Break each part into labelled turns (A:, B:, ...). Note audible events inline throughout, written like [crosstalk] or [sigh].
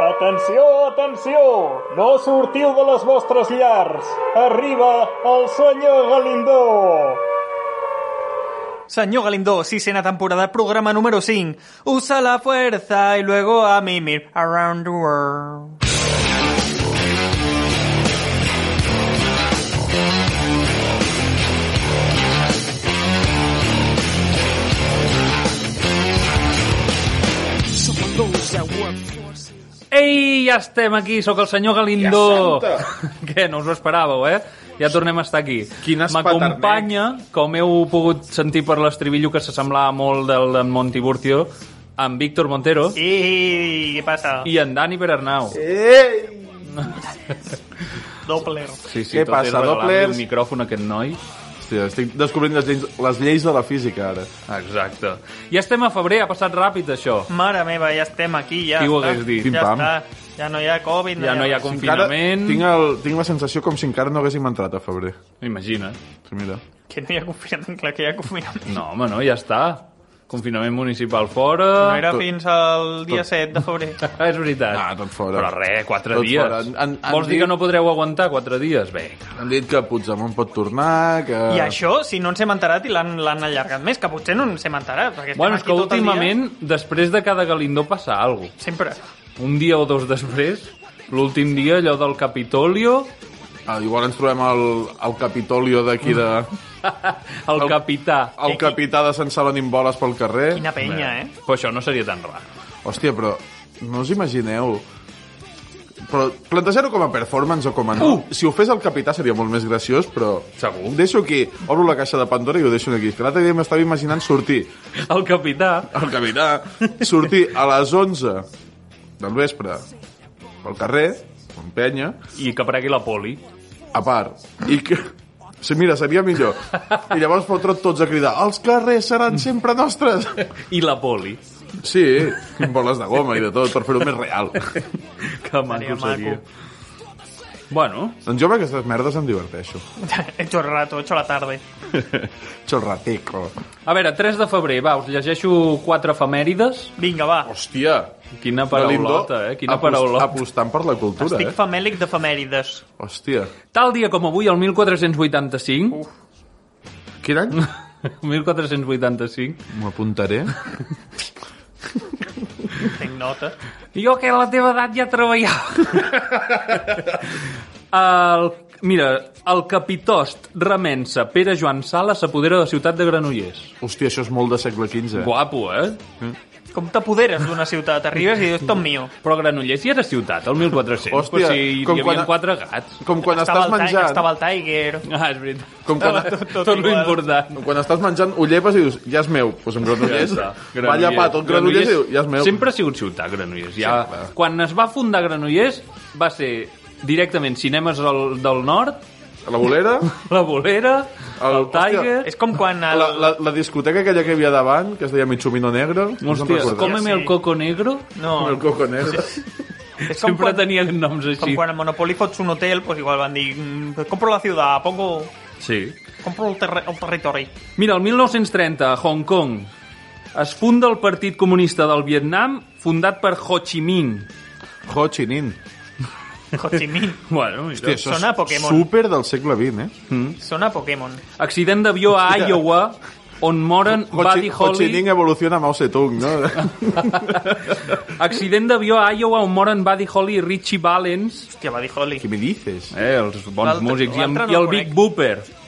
A: Atenció, atenció! No sortiu de les vostres llars! Arriba el senyor Galindó!
B: Señor Galindo, sí, cena temporada, programa número 5. Usa la fuerza y luego a mimir. Around the world.
C: Ei, ja estem aquí, sóc el senyor Galindo.
D: Ja
C: [laughs] Què, no us ho esperàveu, eh? Ja tornem a estar aquí.
D: Quin
C: M'acompanya, com heu pogut sentir per l'estribillo que s'assemblava molt del d'en Monti Burtio, en Víctor Montero
B: ¿Y qué pasa?
C: i en Dani Berarnau.
D: Eh, Ei!
B: Doppler.
C: Sí, sí,
D: Què
C: tot és
D: passa,
C: regalar-li
D: Dopplers?
C: Un micròfon a aquest noi.
D: Hòstia, estic descobrint les lleis, les lleis de la física, ara.
C: Exacte. Ja estem a febrer, ha passat ràpid això.
B: Mare meva, ja estem aquí, ja
C: Qui ho
B: està.
C: hagués dit?
B: Ja
D: Pim-pam.
B: està. Ja no hi ha Covid.
C: Ja no hi ha
B: res.
C: confinament.
D: Encara tinc, el, tinc la sensació com si encara no haguéssim entrat a febrer.
C: Imagina't.
D: Sí, mira.
B: Que no hi ha confinament, clar que hi ha confinament.
C: No, home, no, ja està. Confinament municipal fora...
B: No era fins al dia 7 de febrer.
C: [laughs] És veritat.
D: Ah, tot fora.
C: Però res, quatre
D: Tot
C: dies.
D: fora. Han- han- han
C: Vols dir
D: dit-
C: que no podreu aguantar quatre dies? Vinga.
D: Han dit que Puigdemont pot tornar, que...
C: Ah.
B: I això, si no ens hem enterat i l'han l'han allargat més, que potser no ens hem enterat, perquè estem
C: Bueno, és
B: aquí
C: que
B: tot el
C: últimament, després de cada Galindó passa alguna
B: dia. Sempre.
C: cosa. Un dia o dos després, l'últim dia, allò del Capitolio,
D: Ah, igual ens trobem al, al Capitolio d'aquí de...
C: el
D: El-
C: capità.
D: El capità de Sant Salonim boles pel carrer.
B: Quina Oh, penya, eh?
C: Però això no seria tan rar.
D: Hòstia, però no us imagineu... Però plantejar-ho com a performance o com a no. Uh! Si ho fes el capità seria molt més graciós, però...
C: Segur.
D: Deixo aquí, obro la caixa de Pandora i ho deixo aquí. Que l'altre dia m'estava imaginant sortir
C: El capità...
D: el capità, sortir a les 11 del vespre pel carrer, amb penya,
C: I que aparegui la poli.
D: a part, i que... Sí, mira, seria millor. I llavors fotre tots a cridar els carrers seran sempre nostres.
C: I la poli.
D: Sí, amb boles de goma i de tot, per fer-ho més real.
C: Que maco
B: maco.
C: seria. Bueno,
D: Doncs jo amb aquestes merdes em diverteixo.
B: [laughs] Hecho rato, hecho la tarde.
D: Chorrateco.
C: a veure, 3 de febrer, va, us llegeixo quatre efemèrides.
B: Vinga, va.
D: Hòstia!
C: Quina paraulota, eh? Quina paraulota.
D: Apostant per la cultura,
B: Estic
D: eh?
B: famèlic d'efemèrides.
D: Hòstia.
C: Tal dia com avui, el 1485,
D: Quin
C: [laughs]
D: any?
C: 1485,
D: M'apuntaré.
B: Tinc nota.
C: jo que a la teva edat ja
D: [laughs]
C: treballava. el, mira, el capitost remensa Pere Joan Sala s'apodera de la ciutat de Granollers.
D: Hòstia, això és molt de segle XV.
C: Guapo, eh?
B: Com t'apoderes d'una ciutat? Arribes i dius, tot mío.
C: Però Granollers ja era ciutat, el 1400.
D: Hòstia,
C: Hòstia, si hi
D: com
C: havia
D: quan-
C: quan... quatre gats.
D: Com quan
B: estava,
D: estàs
B: el Ti-
D: menjant...
B: estava el Tiger.
C: Ah, és veritat.
D: Com quan-
C: tot,
B: tot
C: tot, tot
B: igual.
C: l'important.
D: Quan estàs menjant, ho llepes i dius, ja és meu. Doncs pues amb granollers.
C: està.
D: Va llepar tot granollers i diu, ja és meu.
C: Sempre ha sigut ciutat, Granollers. Ja,
D: Sí, clar.
C: quan es va fundar Granollers va ser directament cinemes del, del nord,
D: A La bolera,
C: la bolera, el,
D: El-
C: el Tiger...
B: És com quan el...
D: Ah, la, la, la discoteca aquella que hi havia davant, que es deia Michumino Negro. no se'n
C: Hòstia,
D: recorda.
C: cómeme
B: Sí.
C: el coco negro.
B: No,
D: El coco negro.
B: és com
C: Sempre
B: quan,
C: tenien noms
B: com
C: així.
B: quan el Monopoly fots un hotel, pues igual van dir, "Mm, compro la ciutat, pongo...
C: Sí.
B: Compro el, terri el territori.
C: Mira, el 1930, a Hong Kong, es funda el Partit Comunista del Vietnam, fundat per Ho Chi Minh.
D: Ho Chi Minh.
B: Ho Chi Minh.
C: Bueno, mira.
D: Hòstia, això
B: Sona a
D: és
B: Pokémon.
D: super del segle XX, eh?
B: Sona a Pokémon.
C: Accident d'avió a Iowa, on moren
D: Ho Chi,
C: Buddy
D: Ho Chi
C: Holly...
D: Minh evoluciona a Mao Zedong, no?
C: Accident d'avió a Iowa on moren Buddy Holly i Richie Valens.
B: Hòstia, va dir Holly.
D: [laughs] Què me dices?
C: Eh, els bons
B: L'altre-
C: músics. I,
B: l'altre no
C: amb, I el
B: el
C: Big
B: conec.
C: Booper.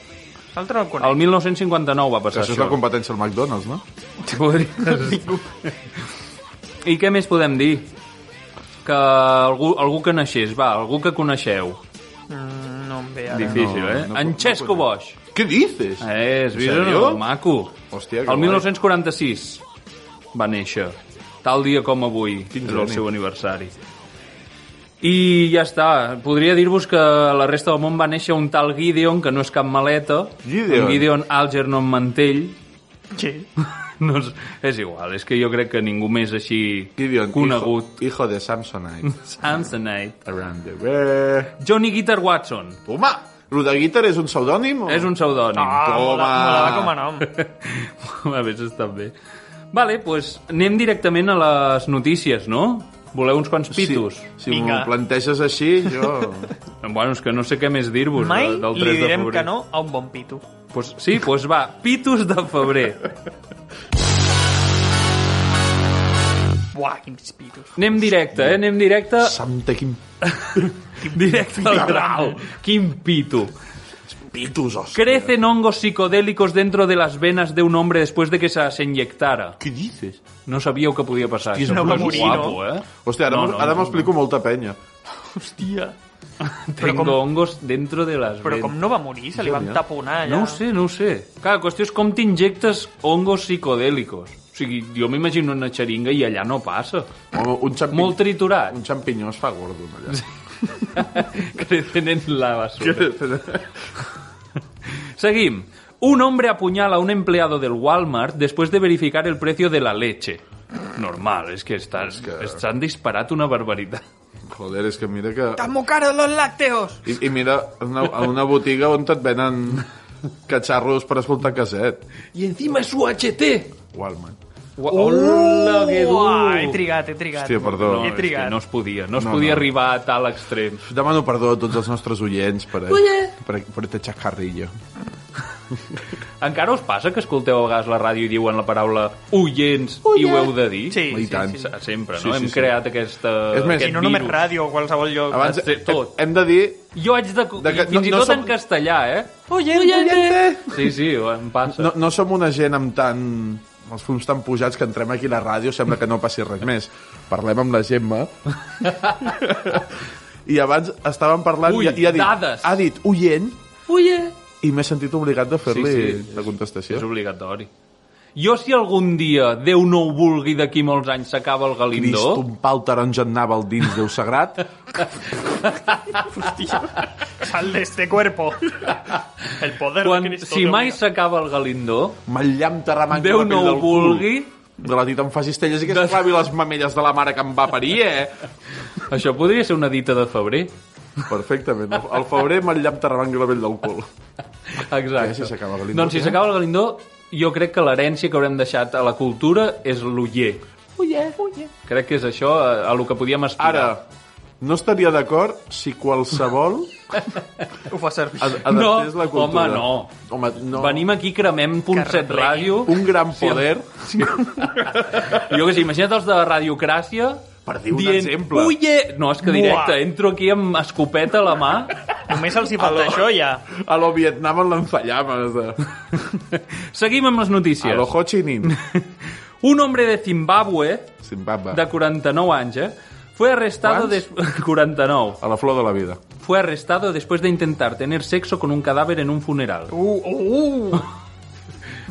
B: L'altre no el conec.
C: El 1959 va
D: Que
C: passar
D: això és
C: això.
D: la competència al McDonald's, no?
C: [laughs] Podries... I què més podem dir? Que algú, algú que naixés, va, algú que coneixeu.
B: Mm, no em ve ara.
C: Difícil,
D: no,
C: eh?
D: no
C: en
D: puc-
C: Xesco
D: no puc-
C: Bosch.
D: Què dices?
C: Eh, és
D: En
C: vist o
D: sèrio?
C: no? Maco.
D: Hòstia,
C: el
D: que guai.
C: 1946 va néixer. Tal dia com avui.
D: Quin
C: és el
D: geni.
C: seu aniversari. I ja està. Podria dir-vos que a la resta del món va néixer un tal Gideon, que no és cap maleta.
D: Gideon.
C: Un Gideon Algernon Mantell. [laughs]
B: Sí.
C: No és, és igual, és que jo crec que ningú més així
D: Gideon,
C: conegut.
D: Hijo, hijo de [laughs] Samsonite.
C: Samsonite.
D: Around the world.
C: Johnny Guitar Watson.
D: Home, lo de Guitar és un pseudònim? O...
C: És un pseudònim.
B: Ah,
D: Toma.
B: mola, mola com a nom.
C: Pues A més, està bé. Vale, doncs anem directament a les notícies, no? Voleu uns quants pitos?
D: Si, si m'ho
B: Vinga.
D: planteges així, [laughs] jo...
C: Bueno, és que no sé què més dir-vos
B: Mai
C: de- del 3
B: li
C: de
B: direm
C: febrer.
B: que no a un bon pito.
C: Pues, sí, doncs pues va, pitos de febrer.
B: Buah, quins pitos.
C: Anem directe, eh? Anem directe,
D: Santa, quin
C: directe al grau. Quin pito.
D: pitos, hòstia.
C: Crecen hongos psicodélicos dentro de las venas de un hombre después de que se las inyectara.
D: Què dices?
C: No sabíeu que podia passar.
D: Hòstia,
C: això,
D: no
C: però
D: va
C: és
D: morir,
C: guapo, eh?
D: Hòstia, ara,
C: No,
D: no,
C: no,
D: ara
C: no,
D: m'explico molta penya.
B: Hòstia. Però
C: Tengo
B: com,
C: hongos dentro de las
B: però
C: venas.
B: com no va morir? Se li van
D: Genial.
B: taponar allà.
C: No ho sé, no ho sé. Clar, la qüestió és com t'injectes hongos psicodèlicos. O sigui, jo m'imagino una xeringa i allà no passa.
D: O Un, xampi...
C: Molt triturat. [laughs]
D: un xampinyó es fa gordo, allà.
C: Crecen en la basura.
D: Sí.
C: Seguim. Un hombre apuñala a un empleado del Walmart después de verificar el precio de la leche. Normal, és que estan, es que...
D: que-
C: estan disparat una barbaritat.
D: [laughs] Joder, és que mira que...
B: Están muy caros los lácteos.
D: I, i mira una, a una botiga on et venen catxarros per escoltar caset.
C: I encima és UHT!
D: Walman.
C: Hola, que dur!
B: Uah, he trigat, he trigat.
D: Hòstia, perdó.
C: No,
B: He
C: és que
B: trigat.
C: no es podia, no es
D: No,
C: podia
D: no.
C: arribar a tal extrem.
D: Demano perdó a tots els nostres oients per, eh, per, per este xacarrillo.
C: Encara us passa que escolteu a vegades la ràdio i diuen la paraula oients i ho heu de dir?
B: Sí,
D: I
B: sí,
D: tant.
B: sí.
C: Se- Sempre,
D: Sí,
C: no?
D: sí,
C: Hem
D: sí.
C: creat aquesta,
D: És més,
C: aquest
B: I no només
C: virus. Ah,
B: ràdio o qualsevol lloc.
D: Abans
C: de tot.
D: hem de dir...
C: Jo haig de...
D: De que-
C: Fins i
D: no- no
C: tot
D: som-
C: en castellà, eh?
B: Oye,
C: Sí, sí, em passa.
D: No, no som una gent amb tant els fums tan pujats que entrem aquí a la ràdio sembla que no passi res més. Parlem amb la Gemma.
C: [laughs]
D: I abans estàvem parlant
C: Ui,
D: i, i ha dit,
C: dades.
D: ha dit oient
C: Oye!
D: i m'he sentit obligat de fer-li
C: Sí,
D: sí,
C: sí,
D: sí, la contestació.
C: És obligatori. Jo, si algun dia, Déu no ho vulgui, d'aquí molts anys s'acaba el Galindó...
D: Crist, un pal taronja anava al dins, Déu sagrat.
B: Sal de este
C: [laughs]
B: cuerpo. El poder
C: Quan,
B: de Cristo.
C: si
B: Déu
C: mai
B: meu.
C: s'acaba el Galindó,
D: Mallam terramant
C: Déu
D: la pell
C: no ho
D: del cul.
C: vulgui,
D: De la tita em facis telles i que esclavi les mamelles de la mare que em va parir, eh?
C: això podria ser una dita de febrer.
D: Perfectament. Al febrer mallam terramant la pell del cul.
C: Exacte.
D: Eh, si s'acaba el Galindó,
C: doncs si
D: eh?
C: s'acaba el Galindó, jo crec que l'herència que haurem deixat a la cultura és l'uller. Crec que és això eh, a, a lo que podíem aspirar.
D: Ara, no estaria d'acord si qualsevol
B: [laughs] Ho fa servir.
D: ad adaptés
C: No,
D: la cultura.
C: home, no.
D: Home, no.
C: Venim aquí, cremem Ponset
B: replegui.
C: Ràdio.
D: Un gran poder... Sí.
C: Jo que sé, imagina't els de la radiocràcia
D: Per dir un
C: dient,
D: exemple.
C: Uie! No, és que directe,
B: Buah.
C: entro aquí amb escopeta a la mà. [laughs]
B: Només els hi falta això, ja.
D: A lo Vietnam en l'enfallames. De...
C: Seguim amb les
D: A lo
C: notícies.
D: Ho Chi Minh.
C: Un home de Zimbabue,
D: Zimbabwe.
C: de 49 anys, eh, fue arrestado... Des... [laughs] 49.
D: A la flor de la vida.
C: Fue arrestado después de intentar tener sexo con un cadáver en un funeral.
B: Uh, uh, uh.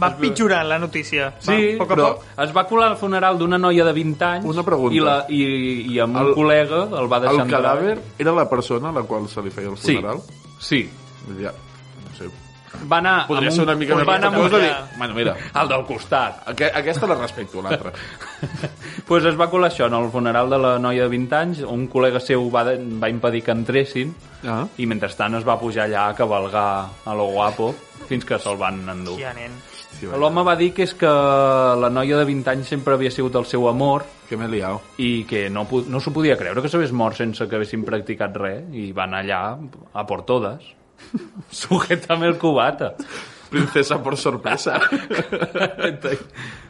B: Va pitjorant la notícia.
C: Sí,
B: Va, poc a
C: però
B: poc.
C: es va colar al funeral d'una noia de 20 anys
D: Una pregunta.
C: i, la, i, i amb un
D: El-
C: col·lega el va deixar
D: El
C: entrar.
D: cadàver era la persona a la qual se li feia el
C: Sí,
D: funeral?
C: sí.
D: Ja, no sé.
C: Va anar...
D: Podria
C: amb
D: ser una mica més
C: va anar amb
D: respectuós
C: un-
D: de dir... Bueno, mira,
C: El del costat.
D: aqu aquesta la respecto, l'altra.
C: Doncs pues es va colar això en el funeral de la noia de 20 anys, un col·lega seu va, de- va impedir que entressin
D: Ah.
C: i mentrestant es va pujar allà a cabalgar a lo guapo fins que se'l van endur.
B: Ja, nen.
C: L'home va dir que és que la noia de 20 anys sempre havia sigut el seu amor
D: Que m'he liat.
C: i que no, po- no s'ho podia creure que s'hagués mort sense que haguessin practicat res i van allà a por todas [laughs] sujetame el cubata
D: Princesa por sorpresa.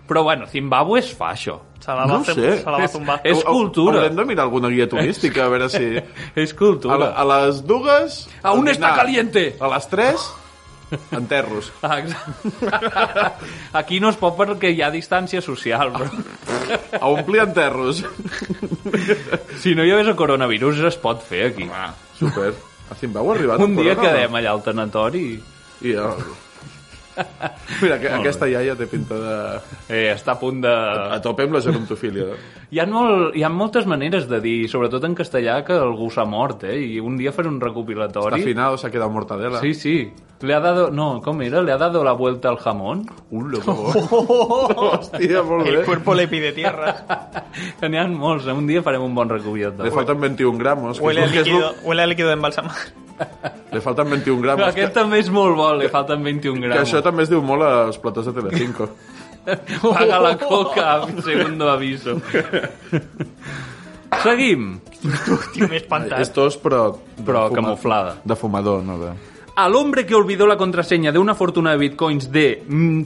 C: però bueno, Zimbabue es fa això
B: Se la va,
D: No ho
B: fer-
D: sé.
B: se la va tombar.
C: És
D: Hau- hau-
C: cultura.
D: Haurem de mirar alguna guia turística, a veure si...
C: és
D: A, la,
C: cultura
D: a les dues...
C: Aún
D: el dinar.
C: está caliente.
D: A les tres, enterros.
C: Ah, exacte. aquí no es pot perquè hi ha distància social però
D: A omplir enterros.
C: si no hi hagués el coronavirus es pot fer aquí
D: Super. A Zimbabue ha arribat.
C: un dia
D: corona,
C: quedem allà al tanatori i
D: no? I, oh. Mira, que, aquesta iaia té pinta de...
C: eh, està a punt de...
D: A tope amb la gerontofília.
C: Hi ha, molt, hi ha moltes maneres de dir, sobretot en castellà, que algú s'ha mort, eh? I un dia faré un
D: Està
C: recopilatori.
D: afinado, s'ha quedat mortadela.
C: Sí, sí. Le ha dado... No, com era? Le ha dado la vuelta al jamón?
D: Un
C: [laughs]
D: loco. Hòstia, molt
B: El
D: bé.
B: cuerpo le pide tierra.
C: [laughs] Que N'hi ha molts, eh? Un dia farem un bon recopilatori.
D: Le falten 21 gramos. que
B: Huele a
D: és lo- que és
B: líquido,
D: lo-
B: huele a líquido de [laughs] embalsamar.
D: Le falten 21 gramos.
C: Però aquest també és molt bo, li falten 21
D: Que
C: grams.
D: això també es diu molt als platós de Telecinco. [laughs]
C: Paga la coca, segundo aviso. Seguim.
B: Tio, m'he espantat.
D: Estos, però... de
C: Però
D: fuma-
C: camuflada.
D: De fumador, no de...
C: Al hombre que olvidó la contraseña de una fortuna de bitcoins de mm,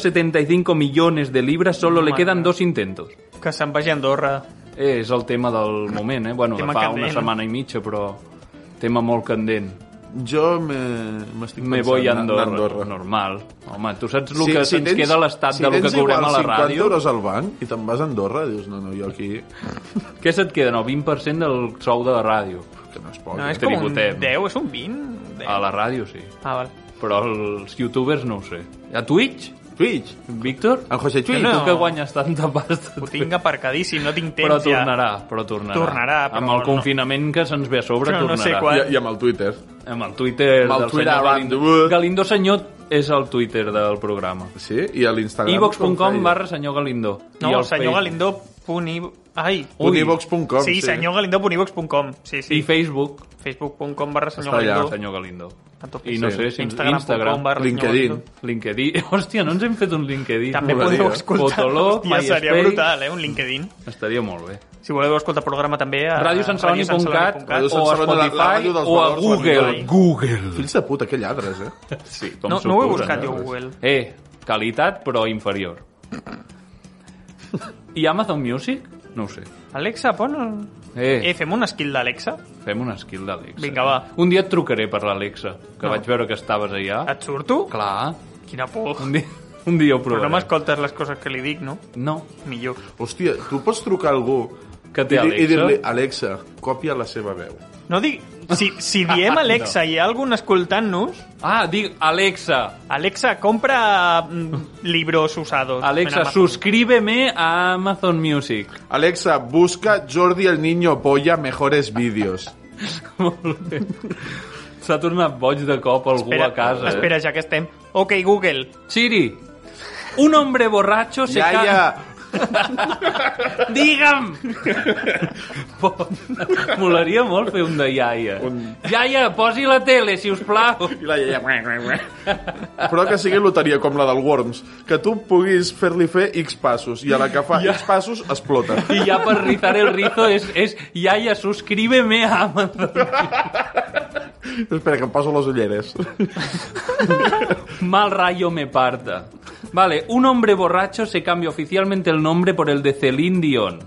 C: 175 millones de libras solo le
B: Mare
C: quedan
B: meva.
C: dos intentos.
B: Que se'n vagi a Andorra.
C: Eh, És el tema del moment, eh? Bueno, de
B: Tema
C: fa una
B: candent.
C: setmana i mitja, però... Tema molt candent.
D: Jo me- m'estic
C: Me
D: pensant
C: voy a
D: anar-
C: Andorra.
D: anar
C: Normal. Home, tu saps el que se'ns queda a l'estat
D: si
C: de lo que
D: tens
C: cobrem a
D: igual
C: la
D: 50
C: ràdio?
D: euros al banc i te'n vas a Andorra, dius, no, no, jo aquí...
C: Què se't queda? No, 20% del sou de la ràdio.
D: Que no es pot.
B: No, és
D: eh?
B: com un
C: Tributem.
B: 10, és un 20?
C: A la ràdio, sí.
B: Ah, val.
C: Però els youtubers no ho sé. A Twitch?
D: Twitch.
C: Víctor?
D: El José Twitch.
C: No.
B: No.
C: Tu que guanyes tanta pasta.
B: Ho tinc aparcadíssim, no tinc temps
C: Però
B: ja.
C: tornarà, però tornarà.
B: Tornarà, però
C: Amb el
B: no.
C: confinament que se'ns ve a sobre,
B: Jo no
C: tornarà.
B: sé quan.
D: I, I amb el Twitter.
C: Amb el Twitter
D: Amb el
C: del
D: Twitter
C: senyor
D: around
C: Galindo.
D: the world.
C: Galindo senyor és el Twitter del programa.
D: Sí? I a l'Instagram...
C: ivox.com barra senyor Galindo.
B: No,
C: I
B: el senyor Galindo punt i... Ai.
C: Ui.
D: Univox.com.
B: sí, senyor Galindo punt ivox.com. Sí,
C: I
B: sí.
C: Facebook,
B: Facebook.com barra senyor
D: Està allà,
B: Galindo.
C: senyor Galindo.
B: A tope.
C: I no
D: Sí.
C: sé, si Instagram,
B: Instagram.com
C: Instagram
B: barra senyor
D: LinkedIn.
B: Galindo.
C: LinkedIn. [laughs] Hòstia, no ens hem fet un LinkedIn.
B: També
D: Molaria.
B: podeu escoltar.
C: Fotolog,
B: Hòstia, seria
C: MySpace.
B: brutal, eh, un LinkedIn.
C: Estaria molt bé.
B: Si voleu escoltar programa també a radiosansaloni.cat.
C: Radiosansaloni.cat
D: Ràdio Sant
C: o a
D: Celoni, la- la ràdio
C: Spotify
D: dels
C: o a
D: valors,
C: Google.
D: Spotify.
C: Google.
D: Fills de puta, que lladres, eh?
C: Sí, com
B: No, no ho he
C: s'ho
B: buscat
C: posen,
B: jo
C: eh?
B: a Google.
C: Eh, qualitat però inferior. I Amazon Music? No ho sé.
B: Alexa, pon... el-
C: Eh,
B: Eh, fem un skill d'Alexa?
C: fem un skill d'Alexa.
B: Vinga, va.
C: Un dia et trucaré per l'Alexa, que
B: No.
C: vaig veure que estaves allà.
B: Et surto?
C: Ah. Clar,
B: Quina por.
C: un dia, un dia ho
B: Però
C: provaré.
B: no m'escoltes les coses que li dic, no?
C: No,
B: Millor.
D: Hòstia, tu pots trucar a algú
C: Que té
D: i, dir-
C: Alexa?
D: i dir-li, Alexa, copia la seva veu.
B: No dic... Si, si diem Alexa i hi ha algun escoltant-nos,
C: Ah, dic Alexa.
B: Alexa, compra mm, libros usados.
C: Alexa,
B: Mira,
C: subscríbeme a Amazon Music. [laughs]
D: Alexa, busca Jordi el niño polla mejores vídeos.
C: Molt bé. S'ha tornat boig de cop algú
B: espera,
C: a casa. eh?
B: Espera, ja que estem. Ok, Google.
C: Siri, un hombre borracho se
D: Ja,
C: ca-
D: ja,
C: Digue'm! [laughs]
D: [laughs]
C: Molaria molt fer un de iaia.
D: Un-
C: Iaia, posi la tele, si us plau.
D: I la iaia... Però que sigui loteria com la del Worms, que tu puguis fer-li fer X passos i a la que fa X passos explota.
C: I ja per rizar el rizo és, és iaia, subscríbeme a Amazon.
D: Espera, que em poso les ulleres.
C: Mal rayo me parta. Vale, un hombre borracho se cambia oficialmente el nombre por el de Celine Dion.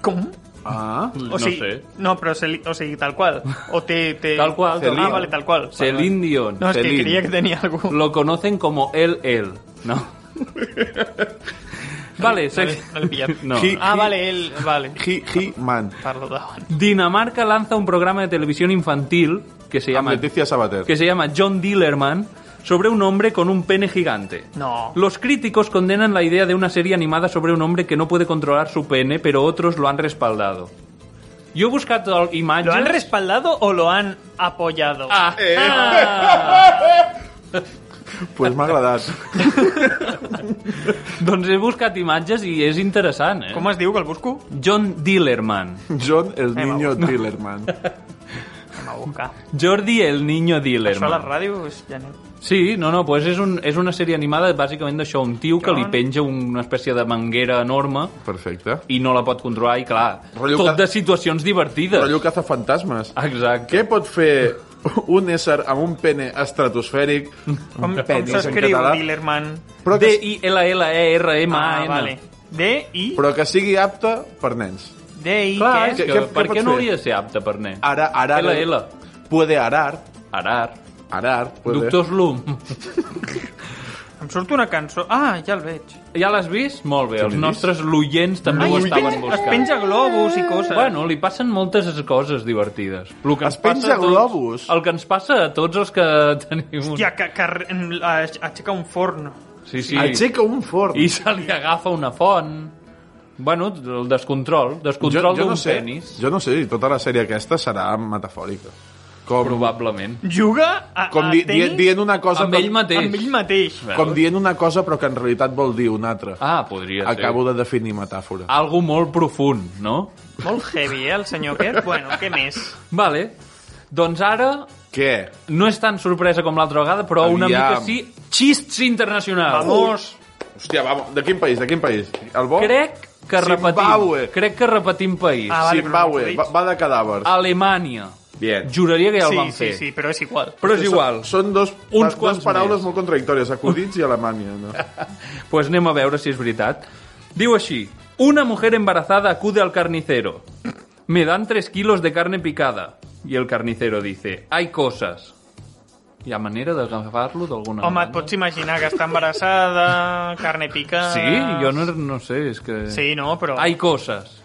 B: Com?
D: Ah,
B: O
C: no
B: sigui,
C: sé.
B: No, però se li, o sigui, tal qual. O té... té...
C: Tal qual, tal
B: Ah,
C: qual.
B: vale, tal qual. Vale,
C: Celine
B: vale.
C: Dion.
B: No, és
D: Celine.
B: que creia que tenia algú.
C: Lo conocen como el él, ¿no? vale,
B: No,
C: se-
B: l'he- no l'he pillat.
C: No.
D: He-
B: Ah, vale, ell... Vale.
D: he, he, man.
B: Parlo davant.
C: Dinamarca lanza un programa de televisión infantil que se
D: Amb
C: llama,
D: Leticia Sabater.
C: que se llama John Dillerman sobre un hombre con un pene gigante.
B: No.
C: Los críticos condenan la idea de una serie animada sobre un hombre que no puede controlar su pene, pero otros lo han respaldado. Yo he buscado imágenes...
B: ¿Lo han Eh. respaldado o lo han apoyado? [laughs]
C: Ah,
D: Pues m'ha agradat.
C: [laughs] doncs he buscat imatges i és interessant, eh?
B: Com es diu que el busco?
C: John Dillerman.
D: John el
B: Eh,
D: niño Dillerman.
B: Anem a buscar.
C: Jordi el niño
B: Això a la
C: Dillerman.
B: ràdio és genet.
C: Sí, no, no, pues és, un, és una sèrie animada bàsicament d'això, un tio que li
B: John.
C: penja una espècie de manguera enorme
D: Perfecte.
C: i no la pot controlar i clar,
D: Rotllo
C: tot
D: que-
C: de situacions divertides.
D: Rotllo cazafantasmes.
C: Exacte.
D: Què pot fer un ésser amb un pene estratosfèric?
B: Com,
D: Un
B: com
D: penis en
B: s'escriu
D: català.
B: Dillerman?
D: Però que,
B: Ah,
C: D-I-L-L-E-R-M-A-N.
B: vale. D, I,
D: però que sigui apte per nens.
B: D, I,
C: Clar,
B: què?
C: és
D: Què-
C: que,
D: què- què
C: per
D: pot
C: què no
D: fer?
C: hauria de ser apte per nen?
D: Ara, arar...
C: LL.
D: Puede arar.
C: Arar.
D: Arar. Puede.
C: Doctor Slum.
B: Em surt una cançó. Ah, ja el veig.
C: Ja l'has vist? Molt bé, els
D: l'he
C: nostres loients també ho
B: es
C: estaven
B: penja, es
C: buscant.
B: penja globus i coses.
C: Bueno, li passen moltes coses divertides. El que ens
D: Es penja
C: passa a tots-
D: globus?
C: El que ens passa a tots els que [laughs] tenim... un-
B: Hòstia, que, que em- a- aixeca un forn.
C: Sí, sí.
D: Aixeca un forn.
C: I se li agafa una font. Bueno, el descontrol. Descontrol d'un
D: sé,
C: penis.
D: Jo no sé si tota la sèrie aquesta serà metafòrica. Com,
C: Probablement.
B: Juga a,
D: com
B: a
D: di, di,
B: tenis
D: dient una cosa...
C: Amb
D: però-
C: ell mateix.
B: amb ell mateix.
D: Com dient una cosa però que en realitat vol dir una altra.
C: Ah, podria ser.
D: Acabo de definir metàfora.
C: Algo molt profund, no?
B: Molt heavy, eh, el senyor [laughs] aquest. Bueno, què més?
C: Vale. Doncs ara
D: Què?
C: no és tan sorpresa com l'altra vegada, però una
D: Aviam.
C: mica sí. Xists internacionals.
B: Vamos.
D: Hòstia, vamos. De quin país? De quin país? El bo?
C: Crec que repetim.
D: Zimbabue.
C: Crec que repetim país.
B: Ah, vale, però no
D: Zimbabue,
B: ho
D: va, va de cadàvers.
C: Ah, Alemanya.
D: Bien.
C: Juraria que ja el
B: Sí,
C: van
B: sí,
C: fer.
B: sí, però és igual.
C: Però és igual.
D: Són, són dos,
C: Uns
D: Uns
C: quants
D: dues paraules
C: més.
D: molt contradictòries, acudits i Alemanya.
C: [laughs]
D: No?
C: Pues anem a veure si és veritat. Diu així, una mujer embarazada acude al carnicero. Me dan 3 kilos de carne picada. I el carnicero dice, hay cosas. Hi ha manera d'agafar-lo d'alguna
B: Home, et
C: manera?
B: pots imaginar que està embarassada, carne picada...
C: Sí, jo no, no sé, és que...
B: pues- Sí, no, però...
C: Hay cosas.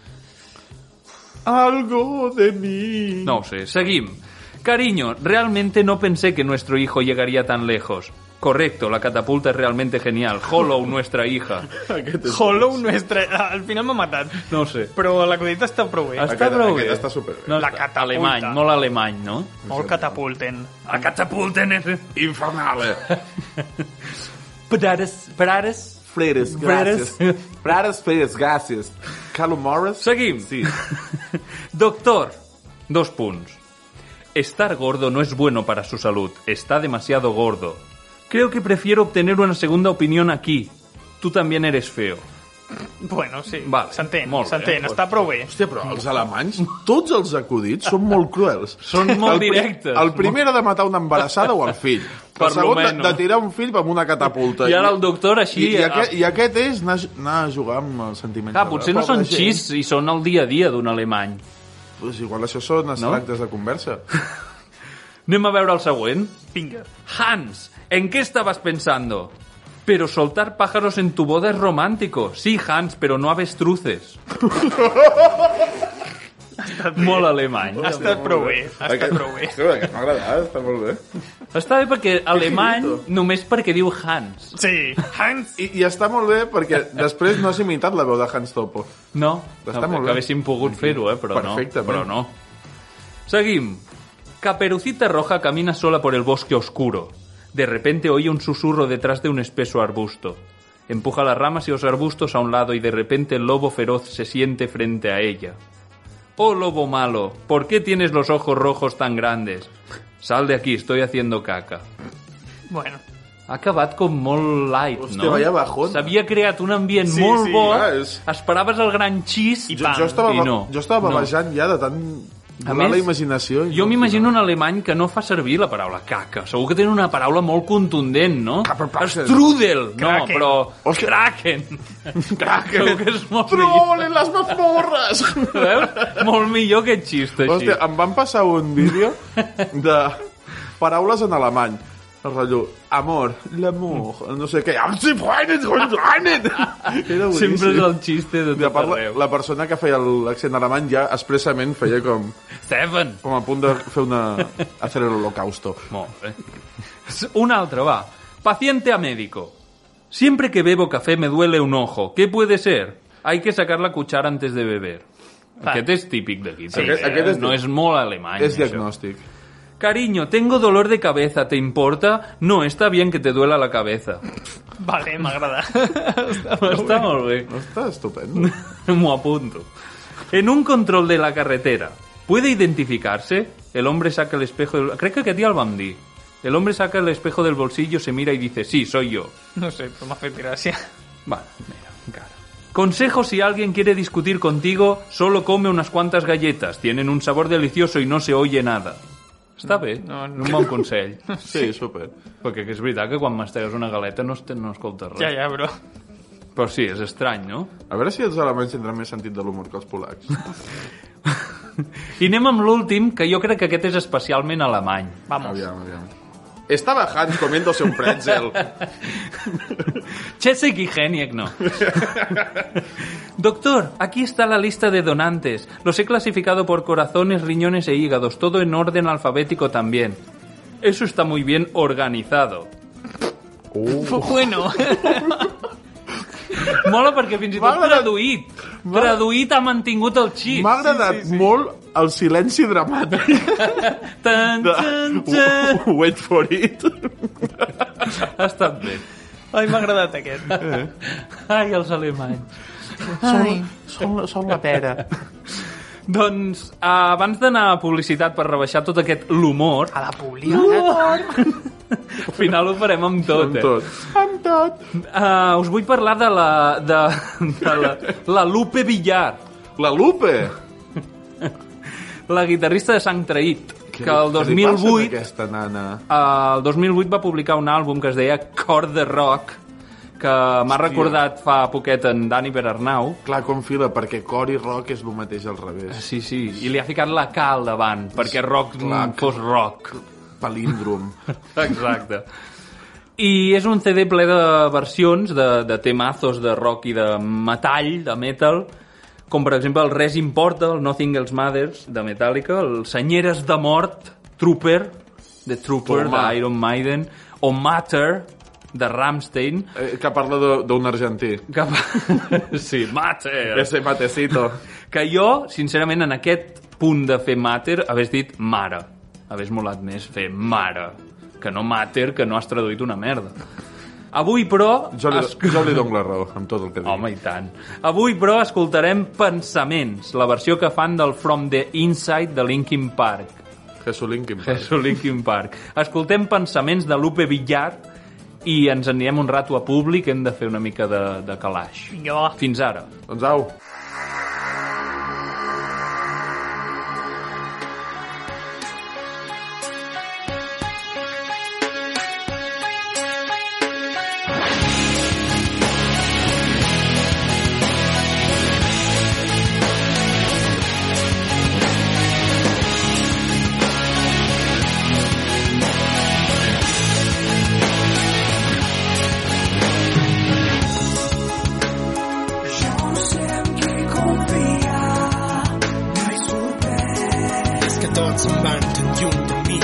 D: Algo de mi.
C: No ho sé, seguim. Cariño, realmente no pensé que nuestro hijo llegaría tan lejos. Correcto, la catapulta es realmente genial. Hollow, nuestra hija.
D: Aquest és...
B: Hollow no és... tre- Ah, Al final m'ha matat.
C: No ho sé.
B: Però l'acudit està prou bé.
C: Està
D: Aquest-
C: prou
D: aquest
C: bé.
D: està superbé.
C: No,
B: La
C: està-
B: catapulta.
C: Alemany, molt alemany, no?
B: Molt catapulten.
C: La catapulta en...
D: Infernal. eh?
C: Prares, prares...
D: Freres,
C: gràcies.
D: Freres, freres, gràcies. Calo Morris?
C: Seguim.
D: Sí.
C: [laughs] Doctor, dos puntos. Estar gordo no es bueno para su salud. Está demasiado gordo. Creo que prefiero obtener una segunda opinión aquí. Tú también eres feo.
B: Bueno, sí,
C: Vale,
B: s'entén,
C: molt bé,
B: s'entén,
C: doncs.
B: està prou bé.
D: Hòstia, però els alemanys, tots els acudits són molt cruels.
C: Són molt
D: el, pri-
C: directes.
D: El primer era de matar una embarassada o el fill.
C: [laughs] Per
D: el segon
C: lo
D: de,
C: menos.
D: de tirar un fill amb una catapulta.
C: I ara el doctor així,
D: I, i,
C: eh,
D: aquest, I aquest és anar, anar a jugar amb els sentiments.
C: Clar,
D: de la
C: Ah, potser no
D: pobra
C: són
D: gent.
C: xis i són el dia a dia d'un alemany.
D: Pues igual això són extractes de conversa.
C: Anem a veure el següent.
B: Vinga.
C: Hans, ¿en qué estabas pensando? Pero soltar pájaros en tu boda es romántico. Sí, Hans, pero no avestruces. Molt alemany.
B: Ha estat prou bé, ha estat prou bé.
D: Aquest m'ha agradat, està molt bé.
C: Està bé perquè alemany només perquè diu Hans.
B: Sí, Hans.
D: I, I està molt bé perquè després no has imitat la veu de Hans Topo.
C: No, que,
D: Està molt
C: que
D: bé.
C: haguéssim pogut fer-ho, eh, però no.
D: Perfectament.
C: Però no. Seguim. Caperucita Roja camina sola por el bosque oscuro. De repente oye un susurro detrás de un espeso arbusto. Empuja las ramas y los arbustos a un lado y de repente el lobo feroz se siente frente a ella. Oh lobo malo, ¿por qué tienes los ojos rojos tan grandes? Sal de aquí, estoy haciendo caca.
B: Bueno,
C: Ha acabat com molt light,
D: Hòstia,
C: no?
D: vaya bajón.
C: S'havia creat un ambient
B: Sí,
C: molt
B: sí,
C: bo,
D: clar, és-
C: esperaves el gran xist...
B: I
C: I
D: Jo, jo, estava,
C: I no.
D: jo estava
C: No.
D: babejant ja de tant...
C: A
D: volar
C: més,
D: la imaginació. i
C: Jo
D: no-
C: m'imagino un alemany que no fa servir la paraula caca. Segur que tenen una paraula molt contundent, no?
D: Kaperpassen.
C: Strudel! No,
B: Kraken.
C: però...
D: Hòstia. [laughs]
C: Kraken! Kraken! Segur que és molt millor.
D: Trol en les mazmorres!
C: Veus? Molt millor que xist, així.
D: Hòstia, em van passar un vídeo de paraules en alemany. El rotllo, amor, l'amor, no sé què. Am si freinen, freinen! Era boníssim.
C: Sempre és el xiste de
D: De
C: tot
D: part, la,
C: arreu.
D: la persona que feia l'accent alemany ja expressament feia com,
C: Seven!
D: com a punt de fer una... hacer el holocausto.
C: Molt bé. Un altre, va. Paciente a médico. Siempre que bebo café me duele un ojo. ¿Qué puede ser? Hay que sacar la cuchara antes de beber. Aquest és típic d'aquí. Sí,
D: Aquest- aquest és-
C: no és molt alemany.
D: És
C: això.
D: diagnòstic.
C: Cariño, tengo dolor de cabeza, ¿te importa? No, está bien que te duela la cabeza.
B: vale, m'agrada. [laughs]
C: Está molt bé.
D: Està estupendo.
C: [laughs] M'ho apunto. En un control de la carretera, ¿puede identificarse? El hombre saca el espejo del... Creo que aquest dia el vam dir. El hombre saca el espejo del bolsillo, se mira y dice, sí, soy yo.
B: No sé, però m'ha fet gràcia.
C: Bueno, mira, cara. Consejo si alguien quiere discutir contigo, solo come unas cuantas galletas. Tienen un sabor delicioso y no se oye nada. Està bé,
B: No,
C: no,
B: no.
C: no. un bon consell.
D: Sí, super.
C: Perquè que és veritat que quan mastegues una galeta no, es- no escoltes res.
B: Ja, ja, però...
C: Però sí, és estrany, no?
D: A veure si els alemanys tindran més sentit de l'humor que els polacs.
C: I anem amb l'últim, que jo crec que aquest és especialment alemany.
B: Vamos.
D: Aviam, aviam. Estava Hans comiéndose un pretzel.
C: Chesek y Geniek no. Doctor, aquí está la lista de donantes. Los he clasificado por corazones, riñones e hígados, todo en orden alfabético también. Eso está muy bien organizado.
B: Bueno,
C: [laughs] Mola perquè fins i tot
D: M'agrada-
C: traduït. Traduït ha mantingut el xip.
D: M'ha agradat sí, sí, sí. molt el silenci dramàtic
C: Tan,
D: de...
C: tan, tan.
D: Wait for it.
C: Ha estat bé.
B: ai, m'ha agradat aquest.
C: [laughs] Ai, els alemanys.
B: Ai.
D: Són, són la pera.
C: Doncs, eh, abans d'anar a publicitat per rebaixar tot aquest l'humor,
B: A la publi, uh!
C: Al final ho farem amb tot,
D: Amb
C: eh?
D: tot. Amb tot.
C: Ah, us vull parlar de la... de, de la, la Lupe Villar,
D: La Lupe!
C: la guitarrista de Sang Traït, que el
D: Què li passa
C: 2008
D: a aquesta nana?
C: eh, el 2008 va publicar un àlbum que es deia Cor de Rock, que m'ha recordat fa poquet en Dani Berarnau.
D: Clar, com fila, perquè cor i rock és el mateix al revés.
C: Sí, sí, i li ha ficat la K al davant, perquè rock
D: clar.
C: fos rock.
D: Palíndrom.
C: Exacte. I és un CD ple de versions de, de temazos de rock i de metall, de metal, com per exemple el Res Importa, el Nothing Else Matters, de Metallica, el Senyeres de Mort, Trooper, de Trooper,
D: Toma.
C: d'Iron Maiden, o Matter, de Ramstein,
D: eh, que parla de- d'un argentí.
C: que... sí, Matter!
D: Ese matecito.
C: Que jo, sincerament, en aquest punt de fer mater, hagués dit mare. Hagués molat més fer mare. Que no mater, que no has traduït una merda. Avui, però...
D: Jo li,
C: es-
D: jo li dono la raó, amb tot el que dic.
C: Home, i tant. Avui, però, escoltarem Pensaments, la versió que fan del From the Inside de Linkin Park.
D: Jesús Linkin Park.
C: És un Linkin Park. Escoltem Pensaments de Lupe Villar i ens anirem un rato a públic, hem de fer una mica de, de calaix.
B: Jo.
C: Fins ara.
D: Doncs au.
E: Yo siempre confía, no hay sorpresa.
F: és que tots se'n van tan lluny de mi.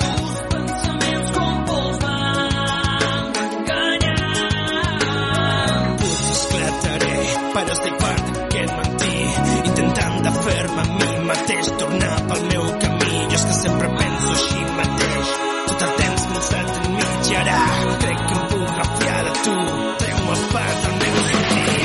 E: Tus pensamientos con vos van a engañar.
F: Potser esclataré, però estic fart d'aquest matí, intentant de fer-me a mi mateix tornar pel meu camí. Jo és que sempre penso així mateix, tot el temps mostrat en mi, i ara crec que em puc refiar de tu. Treu-me part del meu sentit.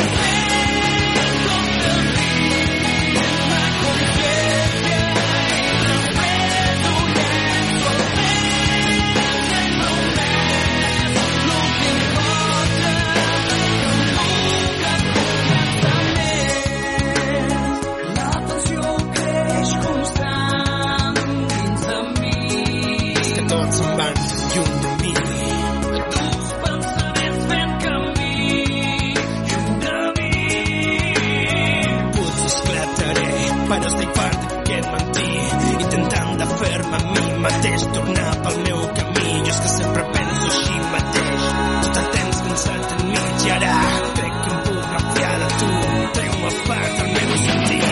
E: La pasión que es constante en mí.
F: És que tots se'n van tan lluny de mi.
E: Tus pensamientos ven camino de mí.
F: Potser esclataré, però estic fart d'aquest matí, intentant de fer-me a mi mateix tornar pel meu camí. Jo és que sempre penso així mateix, tot el temps pensat en mi, i ara crec que em puc refiar de tu. Treu-me part del meu sentit.